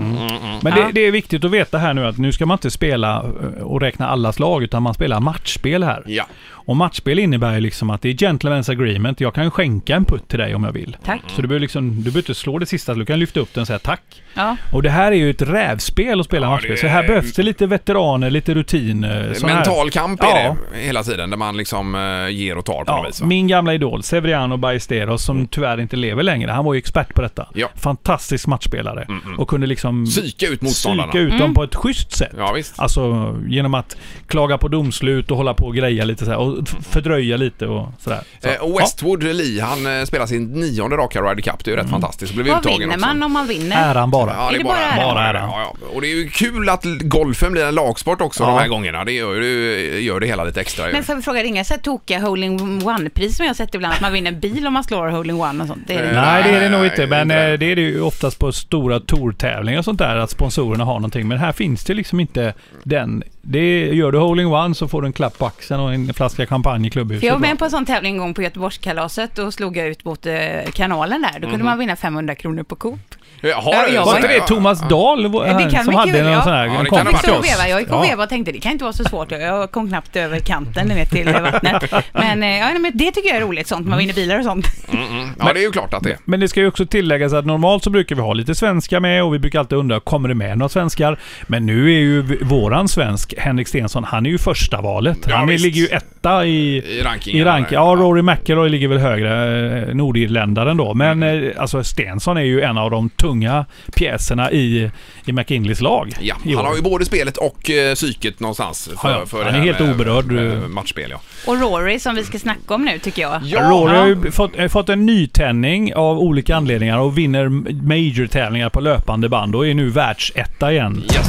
Speaker 6: Men det,
Speaker 5: Ja.
Speaker 6: det är viktigt att veta här nu att nu ska man inte spela eh, och räkna allas lag, utan man spelar matchspel här.
Speaker 4: Ja.
Speaker 6: Och matchspel innebär ju liksom att det är gentleman's agreement. Jag kan ju skänka en putt till dig om jag vill.
Speaker 5: Tack.
Speaker 6: Så du behöver, liksom, du behöver inte slå det sista, du kan lyfta upp den och säga tack.
Speaker 5: Ja.
Speaker 6: Och det här är ju ett rävspel att spela matchspel, så här
Speaker 4: är-
Speaker 6: behövs det lite veteraner, lite rutin. eh, sån här.
Speaker 4: Mental kamp är
Speaker 6: ja.
Speaker 4: det hela tiden, där man liksom eh, ger och tar på
Speaker 6: Ja,
Speaker 4: något vis. Va? Mm.
Speaker 6: min gamla idol Severiano Ballesteros som tyvärr inte lever längre. Han var ju expert på detta.
Speaker 4: Ja.
Speaker 6: Fantastisk matchspelare och kunde liksom
Speaker 4: Psyka ut motståndarna. Mm.
Speaker 6: psyka ut dem på ett schysst sätt.
Speaker 4: Ja, visst.
Speaker 6: Alltså genom att klaga på domslut och hålla på och greja lite så här, och f- fördröja lite och sådär. Så,
Speaker 4: Eh, och Westwood Lee, han eh, spelar sin nionde raka Ryder Cup. Det är ju
Speaker 6: Mm.
Speaker 4: rätt fantastiskt. Blev
Speaker 5: Vad
Speaker 4: uttagen
Speaker 5: vinner
Speaker 4: också.
Speaker 5: man om man
Speaker 6: ja,
Speaker 5: vinner?
Speaker 6: äran bara.
Speaker 4: Ja,
Speaker 5: Är det bara äran?
Speaker 6: Bara äran.
Speaker 4: Ja, ja. Och det är ju kul att l- golfen blir en lagsport också de
Speaker 6: Ja.
Speaker 4: här gångerna. Det gör, ju- gör det hela lite extra. ju.
Speaker 5: Men får jag fråga, det är inga så här tokiga hole-in one-pris som jag har sett ibland, att man vinner en bil om man slår hole-in one och sånt? Det är det.
Speaker 6: Nej, det är det nog
Speaker 4: Nej,
Speaker 6: inte. Men
Speaker 4: inte det.
Speaker 6: eh, det är det ju oftast på stora tourtävlingar och sånt där, att sponsorerna har någonting. Men här finns det liksom inte den. Det gör du holding one så får du en klapp på axeln och en flaska champagne i
Speaker 5: För
Speaker 6: klubbhuset.
Speaker 5: jag var
Speaker 6: då.
Speaker 5: med på en sån tävling en gång på Göteborgskalaset och slog jag ut mot eh, kanalen där. Då
Speaker 4: Mhm.
Speaker 5: kunde man vinna 500 kronor på Coop.
Speaker 4: Jaha,
Speaker 5: Ja,
Speaker 6: Var
Speaker 5: jag-
Speaker 4: så-
Speaker 6: inte det Thomas Dahl vår-
Speaker 5: det
Speaker 6: här,
Speaker 5: kan
Speaker 6: som
Speaker 5: mycket
Speaker 6: hade
Speaker 5: väl,
Speaker 6: någon
Speaker 5: ja.
Speaker 6: sån här
Speaker 4: Ja, det kan
Speaker 6: en
Speaker 5: Jag
Speaker 4: ha
Speaker 6: kompis
Speaker 5: fick
Speaker 4: varit
Speaker 6: till
Speaker 4: Kiosk.
Speaker 5: stå och veva.
Speaker 6: oss?
Speaker 5: Jag gick
Speaker 6: Ja.
Speaker 5: och vevade och tänkte det kan inte vara så svårt. Jag kom knappt över kanten ner till
Speaker 4: [LAUGHS]
Speaker 5: vattnet. Men, eh, ja, nej, men det tycker jag är roligt, sånt. Man vinner bilar och sånt.
Speaker 4: Ja, det är ju klart att det är.
Speaker 6: Men det ska ju också tilläggas att normalt så brukar vi ha lite svenskar med och vi brukar alltid undra, kommer det med några svenskar? Men nu är ju v- våran svensk, Henrik Stensson, han är ju första valet.
Speaker 4: Ja,
Speaker 6: han är,
Speaker 4: visst.
Speaker 6: ligger ju etta i...
Speaker 4: I rankingen.
Speaker 6: I rank, ja, Rory McIlroy ligger väl högre, eh, nordirländaren då. Men
Speaker 4: Mm.
Speaker 6: eh, alltså Stensson är ju en av de tunga pjäserna i, i McKinleys lag.
Speaker 4: Ja,
Speaker 6: i
Speaker 4: han
Speaker 6: år.
Speaker 4: har ju både spelet och eh, psyket någonstans. För,
Speaker 6: Ja, ja.
Speaker 4: för
Speaker 6: Han
Speaker 4: det
Speaker 6: är
Speaker 4: här
Speaker 6: helt
Speaker 4: med-
Speaker 6: oberörd.
Speaker 4: med Matchspel, ja.
Speaker 5: Och Rory som vi ska snacka om nu tycker jag.
Speaker 6: Rory har ju fått, eh, fått en nytändning av olika anledningar och vinner major-tävlingar på löpande band och är nu världsetta igen.
Speaker 4: Yes.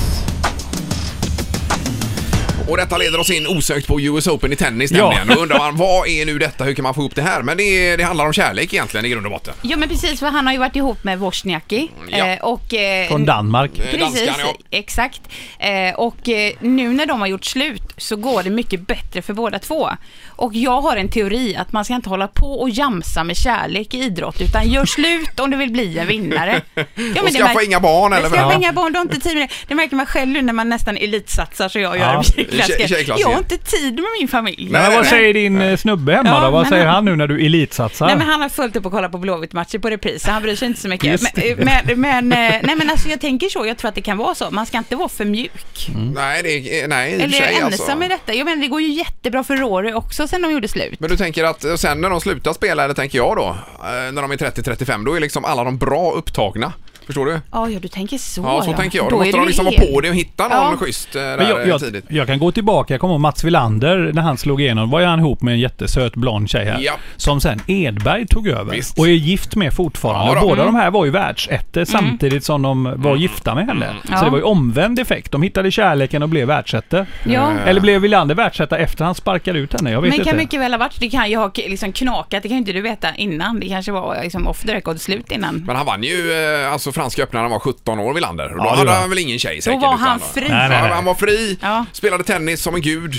Speaker 4: Och detta leder oss in osökt på US Open i tennis
Speaker 6: Ja.
Speaker 4: nämligen. Då undrar man, [LAUGHS] vad är nu detta? Hur kan man få ihop det här? Men det, är, det handlar om kärlek egentligen i grund och botten.
Speaker 5: Ja men precis, för han har ju varit ihop med Wozniacki.
Speaker 4: Ja.
Speaker 5: eh, Och, eh,
Speaker 6: Från Danmark.
Speaker 5: Precis,
Speaker 4: Danskarna, ja.
Speaker 5: exakt. Eh, och eh, nu när de har gjort slut så går det mycket bättre för båda två. Och jag har en teori att man ska inte hålla på och jamsa med kärlek i idrott utan gör slut om du vill bli
Speaker 4: [LAUGHS]
Speaker 5: en vinnare. Ja, men
Speaker 4: Och
Speaker 5: det
Speaker 4: skaffa
Speaker 5: märk-
Speaker 4: inga barn eller
Speaker 5: Men skaffa
Speaker 4: vad?
Speaker 5: inga barn, du har inte tid med det. Det märker man själv nu när man nästan elitsatsar så jag gör
Speaker 6: Ja.
Speaker 5: ja.
Speaker 4: Tjej- tjejklass,
Speaker 5: Jag har
Speaker 4: ja.
Speaker 5: inte tid med min familj.
Speaker 4: Nej,
Speaker 6: Men vad
Speaker 4: nej.
Speaker 6: säger din eh, snubbe hemma
Speaker 5: Ja,
Speaker 6: då? Vad
Speaker 5: men
Speaker 6: säger
Speaker 5: han-
Speaker 6: han nu när du elitsatsar?
Speaker 5: Nej men han har fullt upp och kollat på Blåvitt-matcher på repris, så han bryr sig inte så mycket.
Speaker 6: Just
Speaker 5: Men, men, men, eh, nej men alltså jag tänker så, jag tror att det kan vara så. Man ska inte vara för mjuk.
Speaker 6: Mm.
Speaker 4: Nej, det är, eh, nej i och för
Speaker 5: Eller jag
Speaker 4: sig,
Speaker 5: är
Speaker 4: alltså.
Speaker 5: ensam i detta. Jag menar det går ju jättebra för Rory också sen de gjorde slut.
Speaker 4: Men du tänker att eh, sen när de slutar spela, eller tänker jag då, eh, när de är 30-35, då är liksom alla de bra upptagna. Förstår du?
Speaker 5: Ja, ja, du tänker så
Speaker 4: Ja, så tänker jag. Då,
Speaker 5: är
Speaker 4: måste
Speaker 5: du
Speaker 4: de liksom vara
Speaker 5: hel.
Speaker 4: på det och hitta någon
Speaker 5: Ja.
Speaker 4: schysst eh,
Speaker 6: Men
Speaker 4: där
Speaker 6: jag,
Speaker 4: eh,
Speaker 6: jag,
Speaker 4: tidigt.
Speaker 6: jag kan gå tillbaka. Jag kommer ihåg Mats Wilander när han slog igenom. var ju han ihop med en jättesöt blond tjej här.
Speaker 4: Ja.
Speaker 6: Som sen Edberg tog över
Speaker 4: Visst.
Speaker 6: och är gift med fortfarande.
Speaker 4: Ja då.
Speaker 6: och
Speaker 5: Mm.
Speaker 6: Båda de här var ju världsettor samtidigt som de var gifta med henne. Så
Speaker 5: Ja.
Speaker 6: det var ju omvänd effekt. De hittade kärleken och blev världsettor.
Speaker 5: Ja.
Speaker 6: Eller blev Wilander världsetta efter han sparkade ut henne? Jag vet
Speaker 5: Men
Speaker 6: inte.
Speaker 5: kan mycket väl ha varit, det kan ju ha k- liksom knakat, det kan ju inte du veta innan. Det kanske var liksom off the record slut innan.
Speaker 4: Men han vann ju eh, alltså franska öppna när han var 17 år, Wilander. Då
Speaker 6: det
Speaker 4: hade
Speaker 6: var
Speaker 4: han
Speaker 6: han.
Speaker 4: väl ingen tjej
Speaker 5: Då
Speaker 4: säkert.
Speaker 5: var
Speaker 4: utan
Speaker 5: han
Speaker 4: då-
Speaker 5: fri.
Speaker 6: Nej, nej,
Speaker 4: Ja,
Speaker 6: nej.
Speaker 4: han var fri,
Speaker 5: Ja.
Speaker 4: spelade tennis som en gud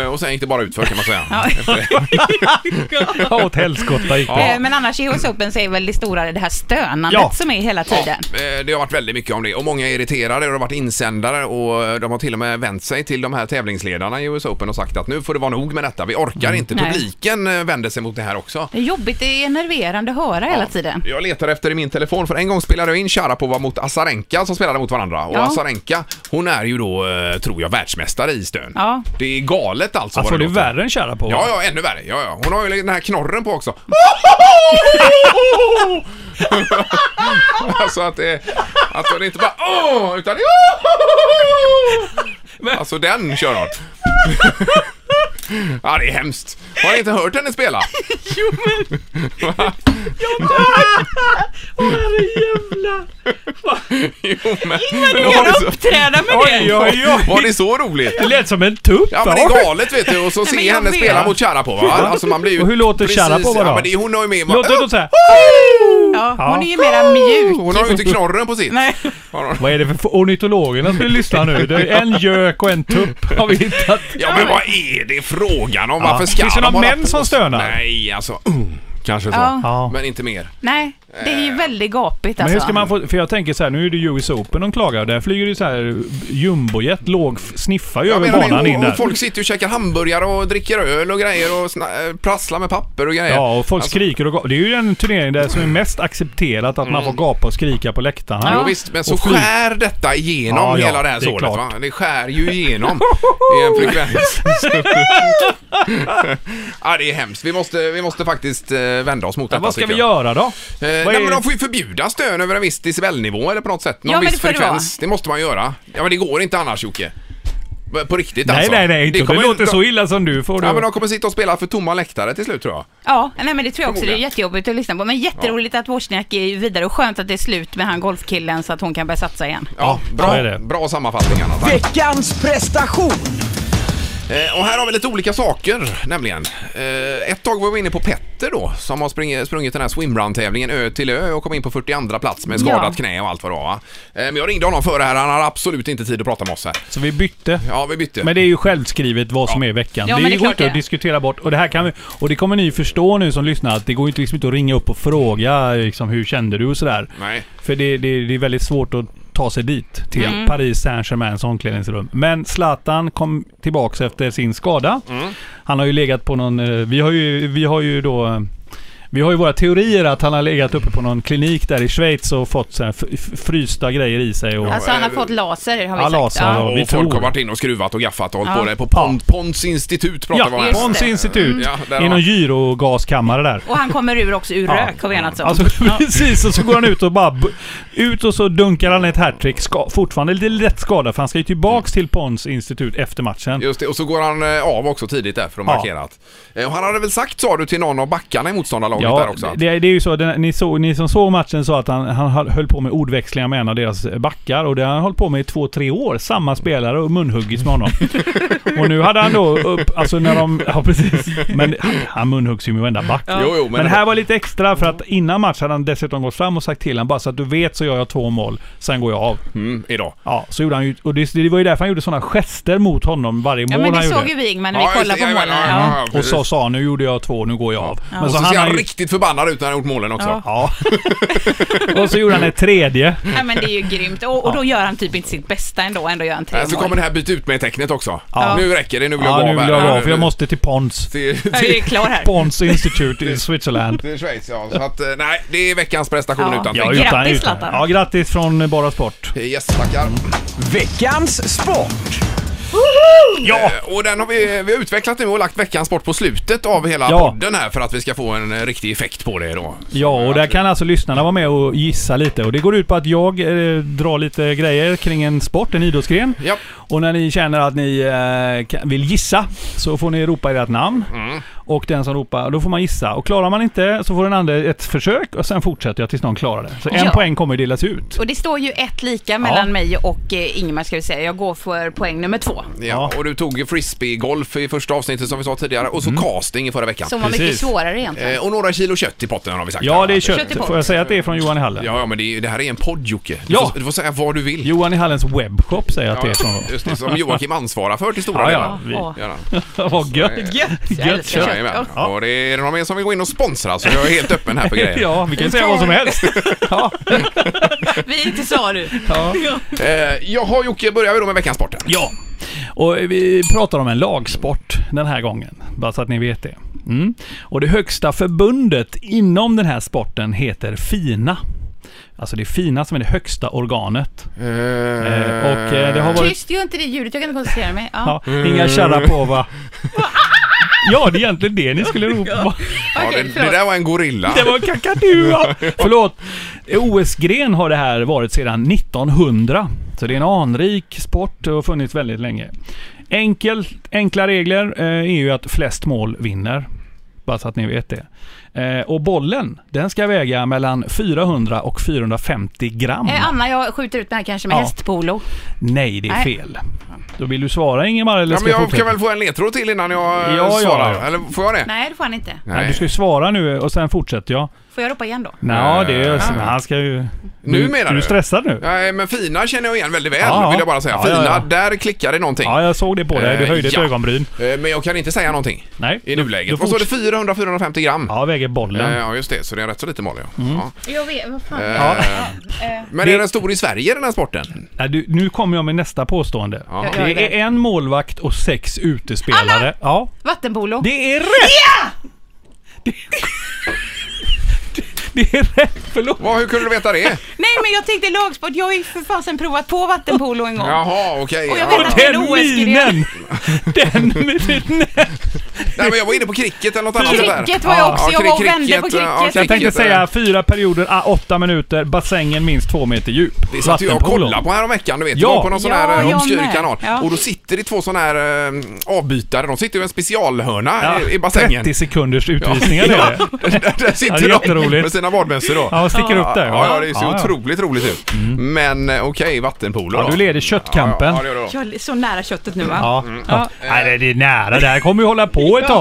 Speaker 4: eh, och sen gick det bara utför kan man
Speaker 5: [LAUGHS]
Speaker 4: säga. Efter det.
Speaker 6: [LAUGHS] Ja, Åt helskotta gick det.
Speaker 5: Eh, Men annars i US Open så är väl det stora det här stönandet
Speaker 6: Ja.
Speaker 5: som är hela
Speaker 4: Ja,
Speaker 5: tiden.
Speaker 4: eh, det har varit väldigt mycket om det och många är irriterade och det har varit insändare och eh, de har till och med vänt sig till de här tävlingsledarna i US Open och sagt att nu får det vara nog med detta, vi orkar inte.
Speaker 5: Mm. Nej.
Speaker 4: Publiken eh, vänder sig mot det här också.
Speaker 5: Det är jobbigt, det är enerverande att höra hela tiden.
Speaker 4: Jag letar efter i min telefon för en gång spelade jag in Sharapova mot Azarenka som spelade mot varandra och
Speaker 5: Ja.
Speaker 4: Azarenka hon är ju då, eh, tror jag, världsmästare i stön.
Speaker 5: Ja.
Speaker 4: Det är galet alltså. vad
Speaker 6: Alltså det är
Speaker 4: låter.
Speaker 6: värre än kära på. [LAUGHS]
Speaker 4: Ja, ja, ännu värre. Ja, ja. Hon har ju den här knorren på också. alltså att det, att det inte bara åh, utan åh! Alltså den kör hon. ja, det är hemskt. Har ni inte hört henne
Speaker 6: [LAUGHS]
Speaker 4: spela?
Speaker 6: Herrejävlar!
Speaker 4: Jo, men...
Speaker 5: Ingen
Speaker 4: var det så-
Speaker 5: uppträda med
Speaker 6: Oj,
Speaker 5: det.
Speaker 6: oj, oj!
Speaker 4: Var det så roligt?
Speaker 6: Det lät som en tupp!
Speaker 4: Ja men det är galet vet du och så
Speaker 5: men
Speaker 4: se
Speaker 5: jag
Speaker 4: henne
Speaker 5: vet.
Speaker 4: spela mot Sharapova. Alltså man blir ju
Speaker 6: Och hur låter
Speaker 4: precis-
Speaker 6: Sharapova då?
Speaker 4: Ja men det är hon har ju med
Speaker 6: Låter det så här?
Speaker 5: Ja, hon är ju mera mjuk.
Speaker 4: Ah, Hon har ju inte knorren på sitt.
Speaker 5: Nej.
Speaker 4: Har hon?
Speaker 6: Vad är det för f- ornitologerna som vill lyssna nu? Det är en gök och en tupp [LAUGHS] har vi hittat.
Speaker 4: Ja men vad är det frågan om? Varför ska
Speaker 6: Finns det
Speaker 4: de
Speaker 6: någon
Speaker 4: hålla
Speaker 6: män
Speaker 4: på
Speaker 6: som
Speaker 4: så?
Speaker 6: stönar?
Speaker 4: Nej alltså, mm, kanske så.
Speaker 5: Ja.
Speaker 6: Ja.
Speaker 4: Men inte mer.
Speaker 5: Nej, det är ju väldigt gapigt
Speaker 6: Men
Speaker 5: alltså.
Speaker 6: hur ska man få... För jag tänker så här, nu är det US Open de klagar. Där flyger det så här jumbojet, låg, sniffar ju
Speaker 4: Jag
Speaker 6: över
Speaker 4: menar, det-
Speaker 6: banan in
Speaker 4: och,
Speaker 6: där.
Speaker 4: och folk sitter ju och käkar hamburgare och dricker öl och grejer och sna- eh, prasslar med papper och grejer.
Speaker 6: Ja, och folk
Speaker 4: Alltså,
Speaker 6: skriker och gapar. Det är ju den turnering där som är mest accepterat att man
Speaker 4: Mm.
Speaker 6: får gapa och skrika på läktarna.
Speaker 4: Jo, visst, men så
Speaker 6: Och fly-
Speaker 4: skär detta igenom
Speaker 6: Ja, ja,
Speaker 4: hela det här
Speaker 6: det är
Speaker 4: såret
Speaker 6: klart.
Speaker 4: va? Det skär ju
Speaker 5: [LAUGHS]
Speaker 4: igenom i en
Speaker 6: [LAUGHS]
Speaker 4: frekvens. [LAUGHS] ja, det är hemskt. Vi måste, vi måste faktiskt eh, vända oss mot detta
Speaker 6: Vad ska vi
Speaker 4: tycker jag.
Speaker 6: göra då?
Speaker 4: Eh,
Speaker 6: Vad
Speaker 4: nej,
Speaker 6: är-
Speaker 4: men de får ju förbjuda stön över en viss decibelnivå eller på något sätt. Någon
Speaker 5: Ja, men
Speaker 4: viss
Speaker 5: det får det
Speaker 4: frekvens. Det, måste man göra. Ja, men det går inte annars Jocke. B- På riktigt
Speaker 6: Nej,
Speaker 4: alltså.
Speaker 6: nej, nej. Inte. om Det
Speaker 4: kommer-
Speaker 6: låter
Speaker 4: de-
Speaker 6: så illa som du får.
Speaker 4: Ja, men
Speaker 6: då.
Speaker 4: de kommer sitta och spela för tomma läktare till slut tror jag.
Speaker 5: Ja, nej men det tror jag också. Det är
Speaker 4: Förmodligen.
Speaker 5: jättejobbigt att lyssna på. Men jätteroligt att Wozniak är vidare och skönt att det är slut med han golfkillen så att hon kan börja satsa igen.
Speaker 4: Ja,
Speaker 6: så
Speaker 4: bra,
Speaker 6: är det.
Speaker 4: bra sammanfattning Anna. Tack.
Speaker 2: Veckans prestation!
Speaker 4: Eh, och här har vi lite olika saker nämligen. Eh, ett tag var vi inne på Petter då som har spring, sprungit den här swimrun-tävlingen ö till ö och kom in på 42 plats med skadat
Speaker 5: Ja.
Speaker 4: knä och allt vad det var. va? Eh, men jag ringde honom före här, han har absolut inte tid att prata med oss här.
Speaker 6: Så vi bytte.
Speaker 4: Ja, vi bytte.
Speaker 6: Men det är ju självskrivet vad som är veckan.
Speaker 5: Ja,
Speaker 6: det
Speaker 5: men det är
Speaker 6: går
Speaker 5: klart
Speaker 6: inte
Speaker 5: det
Speaker 6: att
Speaker 5: är.
Speaker 6: diskutera bort. Och det, här kan vi, och det kommer ni förstå nu som lyssnar att det går ju inte, liksom inte att ringa upp och fråga liksom, hur kände du och sådär.
Speaker 4: Nej.
Speaker 6: För det, det, det är väldigt svårt att ta sig dit till
Speaker 5: Mm.
Speaker 6: Paris Saint-Germains omklädningsrum. Men Zlatan kom tillbaka efter sin skada. Han har ju legat på någon... eh, Vi har ju, vi har ju då... eh, Vi har ju våra teorier att han har legat uppe på någon klinik där i Schweiz och fått så här f- f- frysta grejer i sig. Och,
Speaker 5: Alltså han har
Speaker 4: eh,
Speaker 5: fått laser har vi
Speaker 6: ja,
Speaker 5: sagt.
Speaker 6: laser, ja.
Speaker 5: ja.
Speaker 4: Och
Speaker 6: vi
Speaker 4: folk
Speaker 6: tror.
Speaker 4: har varit inne och skruvat och gaffat och hållit
Speaker 5: Ja.
Speaker 4: på det på Pont, Ponts institut pratar vi om
Speaker 6: ja,
Speaker 4: här.
Speaker 5: Just
Speaker 6: Pons
Speaker 5: det.
Speaker 6: institut.
Speaker 4: Ja, där
Speaker 6: I
Speaker 4: har-
Speaker 6: någon gyrogaskammare där.
Speaker 5: Och han kommer ur också ur rök har vi enats
Speaker 4: [LAUGHS]
Speaker 5: om.
Speaker 6: Alltså [LAUGHS] precis, och så går han ut och bara... bu- Ut och så dunkar han ett hattrick. Ska, fortfarande lite lätt skadad för han ska ju tillbaks till Pons institut efter matchen.
Speaker 4: Just det, och så går han eh, av också tidigt där för att
Speaker 6: Ja.
Speaker 4: markera att... Eh, Och han hade väl sagt, sa du, till någon av backarna i motståndarlaget där också? att-
Speaker 6: det, det är ju så. Den, ni, så ni som såg matchen sa att han, han höll på med ordväxlingar med en av deras backar och det har han hållit på med i två, tre år. Samma spelare och munhuggits
Speaker 4: [LAUGHS]
Speaker 6: med honom. och nu hade han då upp, alltså när de, ja precis. Men han, han munhuggs ju med varenda back.
Speaker 4: Jo, jo, men,
Speaker 6: Men det här var lite extra för att innan match hade han dessutom gått fram och sagt till honom bara så att du vet så gör jag två mål, sen går jag av.
Speaker 4: Mm, idag.
Speaker 6: Ja, så gjorde han ju, och det, det var ju därför han gjorde sådana gester mot honom varje mål
Speaker 5: Ja men
Speaker 6: han
Speaker 5: det
Speaker 6: gjorde.
Speaker 5: såg ju vi Ingmar när
Speaker 4: Ja,
Speaker 5: vi
Speaker 4: just
Speaker 5: kollade
Speaker 4: det,
Speaker 5: på
Speaker 4: ja,
Speaker 5: målen.
Speaker 4: ja, ja,
Speaker 5: Ja.
Speaker 4: ja,
Speaker 6: och
Speaker 4: precis.
Speaker 6: sa sa nu gjorde jag två, nu går jag av. Men
Speaker 4: Och så, ser
Speaker 6: hann
Speaker 4: han
Speaker 6: ju-
Speaker 4: riktigt förbannad ut när han gjort målen också.
Speaker 5: Ja.
Speaker 6: Ja. [LAUGHS] och så gjorde han ett tredje.
Speaker 5: Nej men det är ju grymt. Och, och då gör han typ inte sitt bästa ändå. Ändå gör han tre
Speaker 4: Äh, Så kommer
Speaker 5: mål.
Speaker 4: det här byt ut med tecknet också.
Speaker 6: Ja.
Speaker 4: Nu räcker det, nu vill jag
Speaker 6: Ja,
Speaker 4: vara
Speaker 6: nu vill jag
Speaker 4: här.
Speaker 6: vara för jag
Speaker 4: [LAUGHS]
Speaker 6: måste till Pons.
Speaker 4: Till,
Speaker 5: Ja, vi är
Speaker 4: till,
Speaker 5: klara här.
Speaker 6: Pons
Speaker 4: [LAUGHS]
Speaker 6: Institute i Switzerland.
Speaker 4: till Schweiz ja. Så att, eh, nej, det är veckans prestation
Speaker 5: Ja.
Speaker 4: utan
Speaker 5: Ja,
Speaker 4: tvekan.
Speaker 5: Grattis, Zlatan.
Speaker 6: Ja, grattis från eh, Bara Sport.
Speaker 4: Yes, tackar.
Speaker 2: Veckans sport!
Speaker 4: Ja. Eh, Och den har vi, vi har utvecklat nu och lagt veckans sport på slutet av hela
Speaker 6: Ja.
Speaker 4: podden här för att vi ska få en eh, riktig effekt på det då.
Speaker 6: Ja, och där kan alltså lyssnarna vara med och gissa lite. Och det går ut på att jag eh, drar lite grejer kring en sport, en idrottsgren.
Speaker 4: Japp.
Speaker 6: Och när ni känner att ni eh, kan- vill gissa så får ni ropa ert namn.
Speaker 4: Mm.
Speaker 6: Och den som ropar, då får man gissa. Och klarar man inte så får den andra ett försök och sen fortsätter jag tills någon klarar det. Så en
Speaker 5: Ja.
Speaker 6: poäng kommer delas ut.
Speaker 5: Och det står ju ett lika mellan mig och eh, Ingmar ska vi säga. Jag går för poäng nummer två.
Speaker 4: Ja, och du tog frisbeegolf i första avsnittet som vi sa tidigare och så
Speaker 6: Mm.
Speaker 4: casting i förra veckan.
Speaker 5: Som var mycket
Speaker 6: Precis.
Speaker 5: svårare egentligen.
Speaker 4: Eh, och några kilo kött i potten har vi sagt.
Speaker 6: Ja,
Speaker 4: här.
Speaker 6: det är
Speaker 5: Kött i
Speaker 6: kött.
Speaker 5: pott.
Speaker 6: Får jag säga att det är från Johan i hallen?
Speaker 4: Ja, ja, men det, är, det här är en podd Jocke. Du,
Speaker 6: Ja.
Speaker 4: får, du får säga vad du vill.
Speaker 6: Johan i hallens webbshop säger jag att det är från.
Speaker 4: Ja, just det, som Joakim ansvarar för till stora
Speaker 6: Ja, ja.
Speaker 4: delar.
Speaker 6: vi-
Speaker 5: Åh.
Speaker 4: Gör han.
Speaker 6: [LAUGHS] Vad gött!
Speaker 5: Gött! Jag
Speaker 6: Gött
Speaker 5: älskar
Speaker 6: kött.
Speaker 5: kött.
Speaker 4: Jajamän.
Speaker 5: Åh.
Speaker 4: Ja. Och det är någon mer som vill gå in och sponsra så jag är helt öppen
Speaker 6: [LAUGHS]
Speaker 4: här för grejer.
Speaker 6: Ja, vi kan säga vad som helst. Ja.
Speaker 5: Vi är inte sa du.
Speaker 4: Eh, jaha Jocke, börjar vi då med veckans sporten?
Speaker 6: Ja. Och vi pratar om en lagsport den här gången. Bara så att ni vet det. Mm. Och det högsta förbundet inom den här sporten heter FINA. Alltså det är FINA som är det högsta organet. Eh, och eh, det har
Speaker 5: [LAUGHS]
Speaker 6: varit...
Speaker 5: Tyst, gör inte det ljudet. Jag kan inte koncentrera mig. Ja.
Speaker 6: Ja, Inga Sharapova. Ja, det är egentligen det ni skulle ropa. på.
Speaker 4: Ja, det,
Speaker 5: Okej,
Speaker 4: det
Speaker 5: förlåt.
Speaker 4: där var en gorilla.
Speaker 6: Det var en kakadua! [LAUGHS] Förlåt. OS-gren har det här varit sedan 1900. Så det är en anrik sport och har funnits väldigt länge. Enkel, enkla regler eh, är ju att flest mål vinner. Bara så att ni vet det. Eh, och bollen, den ska väga mellan 400 och 450 gram.
Speaker 5: Eh, Anna, jag skjuter ut mig här kanske med
Speaker 6: Ja.
Speaker 5: hästpolo.
Speaker 6: Nej, det är
Speaker 5: Nej.
Speaker 6: fel. Då vill du svara Ingemar eller
Speaker 4: Ja,
Speaker 6: ska
Speaker 4: men
Speaker 6: jag
Speaker 4: jag
Speaker 6: fortsätta?
Speaker 4: kan väl få en ledtråd till innan jag eh,
Speaker 6: Ja, ja.
Speaker 4: svarar? Eller får jag det?
Speaker 5: Nej, det får han inte.
Speaker 6: Nej, du ska ju svara nu och sen fortsätter jag.
Speaker 5: Får jag ropa igen då?
Speaker 6: Nej, det är...
Speaker 4: Eh,
Speaker 6: Han ska ju...
Speaker 4: Nu
Speaker 6: Du-
Speaker 4: menar
Speaker 6: Är
Speaker 4: du?
Speaker 6: du stressad nu?
Speaker 4: Nej, men fina känner jag igen väldigt väl,
Speaker 6: Ja, ja.
Speaker 4: vill jag bara säga.
Speaker 6: Ja, ja,
Speaker 4: fina,
Speaker 6: ja.
Speaker 4: där klickade någonting.
Speaker 6: Ja, jag såg det på dig. Du
Speaker 4: Eh,
Speaker 6: höjde ett
Speaker 4: ja.
Speaker 6: ögonbryn.
Speaker 4: Eh, Men jag kan inte säga någonting
Speaker 6: Nej.
Speaker 4: i
Speaker 6: då- då
Speaker 4: nuläget. Vad står det?
Speaker 6: forts-
Speaker 4: 400-450 gram?
Speaker 6: Ja, Mm. väger bollen.
Speaker 4: Eh, Ja, just det. Så det är rätt så lite mål, ja. ja.
Speaker 5: Jag vet, vad fan.
Speaker 4: Ja.
Speaker 5: Eh,
Speaker 4: Men är den stor i Sverige, den här sporten?
Speaker 6: Nej, du, nu kommer jag med nästa påstående.
Speaker 4: Ja.
Speaker 5: Jag gör
Speaker 6: Det
Speaker 5: det.
Speaker 6: är en målvakt och sex utespelare.
Speaker 5: Alla!
Speaker 6: Ja,
Speaker 5: Vattenpolo.
Speaker 6: det är rätt! [LAUGHS] Det, det är rätt, förlåt.
Speaker 4: Vad, hur kunde du veta
Speaker 6: [LAUGHS]
Speaker 4: det?
Speaker 5: Nej, men jag tänkte lagsport. Jag har ju för fasen provat på vattenpolo en gång.
Speaker 4: Jaha, okej.
Speaker 5: Och jag
Speaker 4: Ja.
Speaker 5: vet att det är en
Speaker 6: Den
Speaker 5: OS-gren.
Speaker 6: minen! Den
Speaker 5: [LAUGHS]
Speaker 6: minen!
Speaker 4: Nej, men jag var inne på cricket eller något annat. sånt där.
Speaker 5: Cricket var jag
Speaker 6: Ja,
Speaker 5: också. Jag var och vände
Speaker 4: cricket, ja,
Speaker 5: på cricket.
Speaker 6: Jag tänkte
Speaker 4: Cricket, eh.
Speaker 6: säga fyra perioder, ah, åtta minuter, bassängen minst två meter djup.
Speaker 4: Det satt ju jag och
Speaker 6: Vattenpolo.
Speaker 4: kollade på häromveckan, du vet.
Speaker 6: Ja.
Speaker 4: Ja. på någon sån
Speaker 5: Ja,
Speaker 4: här eh,
Speaker 5: jag
Speaker 4: obskyr
Speaker 5: med.
Speaker 4: kanal.
Speaker 5: Ja.
Speaker 4: Och då sitter det två såna här eh, avbytare. De sitter i en specialhörna
Speaker 6: Ja,
Speaker 4: i, i bassängen.
Speaker 6: 30 sekunders utvisningar är
Speaker 4: [LAUGHS]
Speaker 6: det.
Speaker 4: där, där
Speaker 6: Ja, det är
Speaker 4: sitter de
Speaker 6: jätteroligt.
Speaker 4: med sina badmössor då.
Speaker 6: Ja, sticker upp där.
Speaker 4: Ja, ja, det ser
Speaker 6: Ja, ja.
Speaker 4: otroligt roligt ut. Men eh, okej, vattenpolo
Speaker 6: Ja,
Speaker 4: då.
Speaker 6: du leder köttkampen.
Speaker 4: Ja, ja, ja, det gör du då.
Speaker 5: Jag är så nära köttet nu va?
Speaker 6: Ja. Mm. ja. Nej, det- det är nära. Det här kommer ju hålla på ett tag.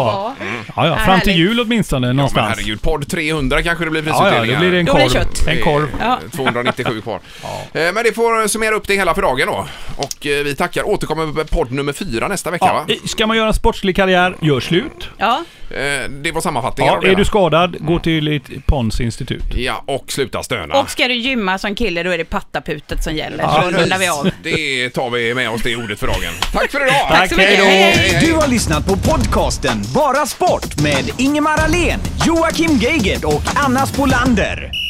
Speaker 6: Ja, ja. Fram till
Speaker 5: Mm. Härligt.
Speaker 6: jul åtminstone
Speaker 4: Men
Speaker 6: någonstans.
Speaker 4: herregud, podd 300 kanske det blir
Speaker 6: Ja, ja,
Speaker 4: prisutdelningar.
Speaker 6: det blir det en
Speaker 5: Då blir det
Speaker 6: korv.
Speaker 5: kött.
Speaker 6: En korv.
Speaker 5: Ja.
Speaker 4: 297
Speaker 6: [LAUGHS]
Speaker 4: kvar. Eh, Men det får summera upp det hela för dagen då. Och eh, vi tackar. Återkommer med podd nummer fyra nästa vecka
Speaker 6: Ja,
Speaker 4: va?
Speaker 6: i- ska man göra en sportslig karriär, gör slut.
Speaker 5: Ja.
Speaker 4: Eh, Det var sammanfattningen
Speaker 6: Ja,
Speaker 4: av det
Speaker 6: är du
Speaker 4: hela.
Speaker 6: skadad,
Speaker 4: Mm.
Speaker 6: gå till ett ponsinstitut.
Speaker 4: Ja, och sluta stöna.
Speaker 5: Och ska du gymma som kille då är det pattaputet som gäller. så rundar vi av.
Speaker 4: Det tar vi med oss det ordet för dagen. Tack för idag!
Speaker 5: Tack så mycket.
Speaker 6: hej då.
Speaker 5: Hej, hej.
Speaker 2: Du har lyssnat på podcasten Bara Sport med Ingemar Ahlén, Joakim Geigert och Anna Spolander.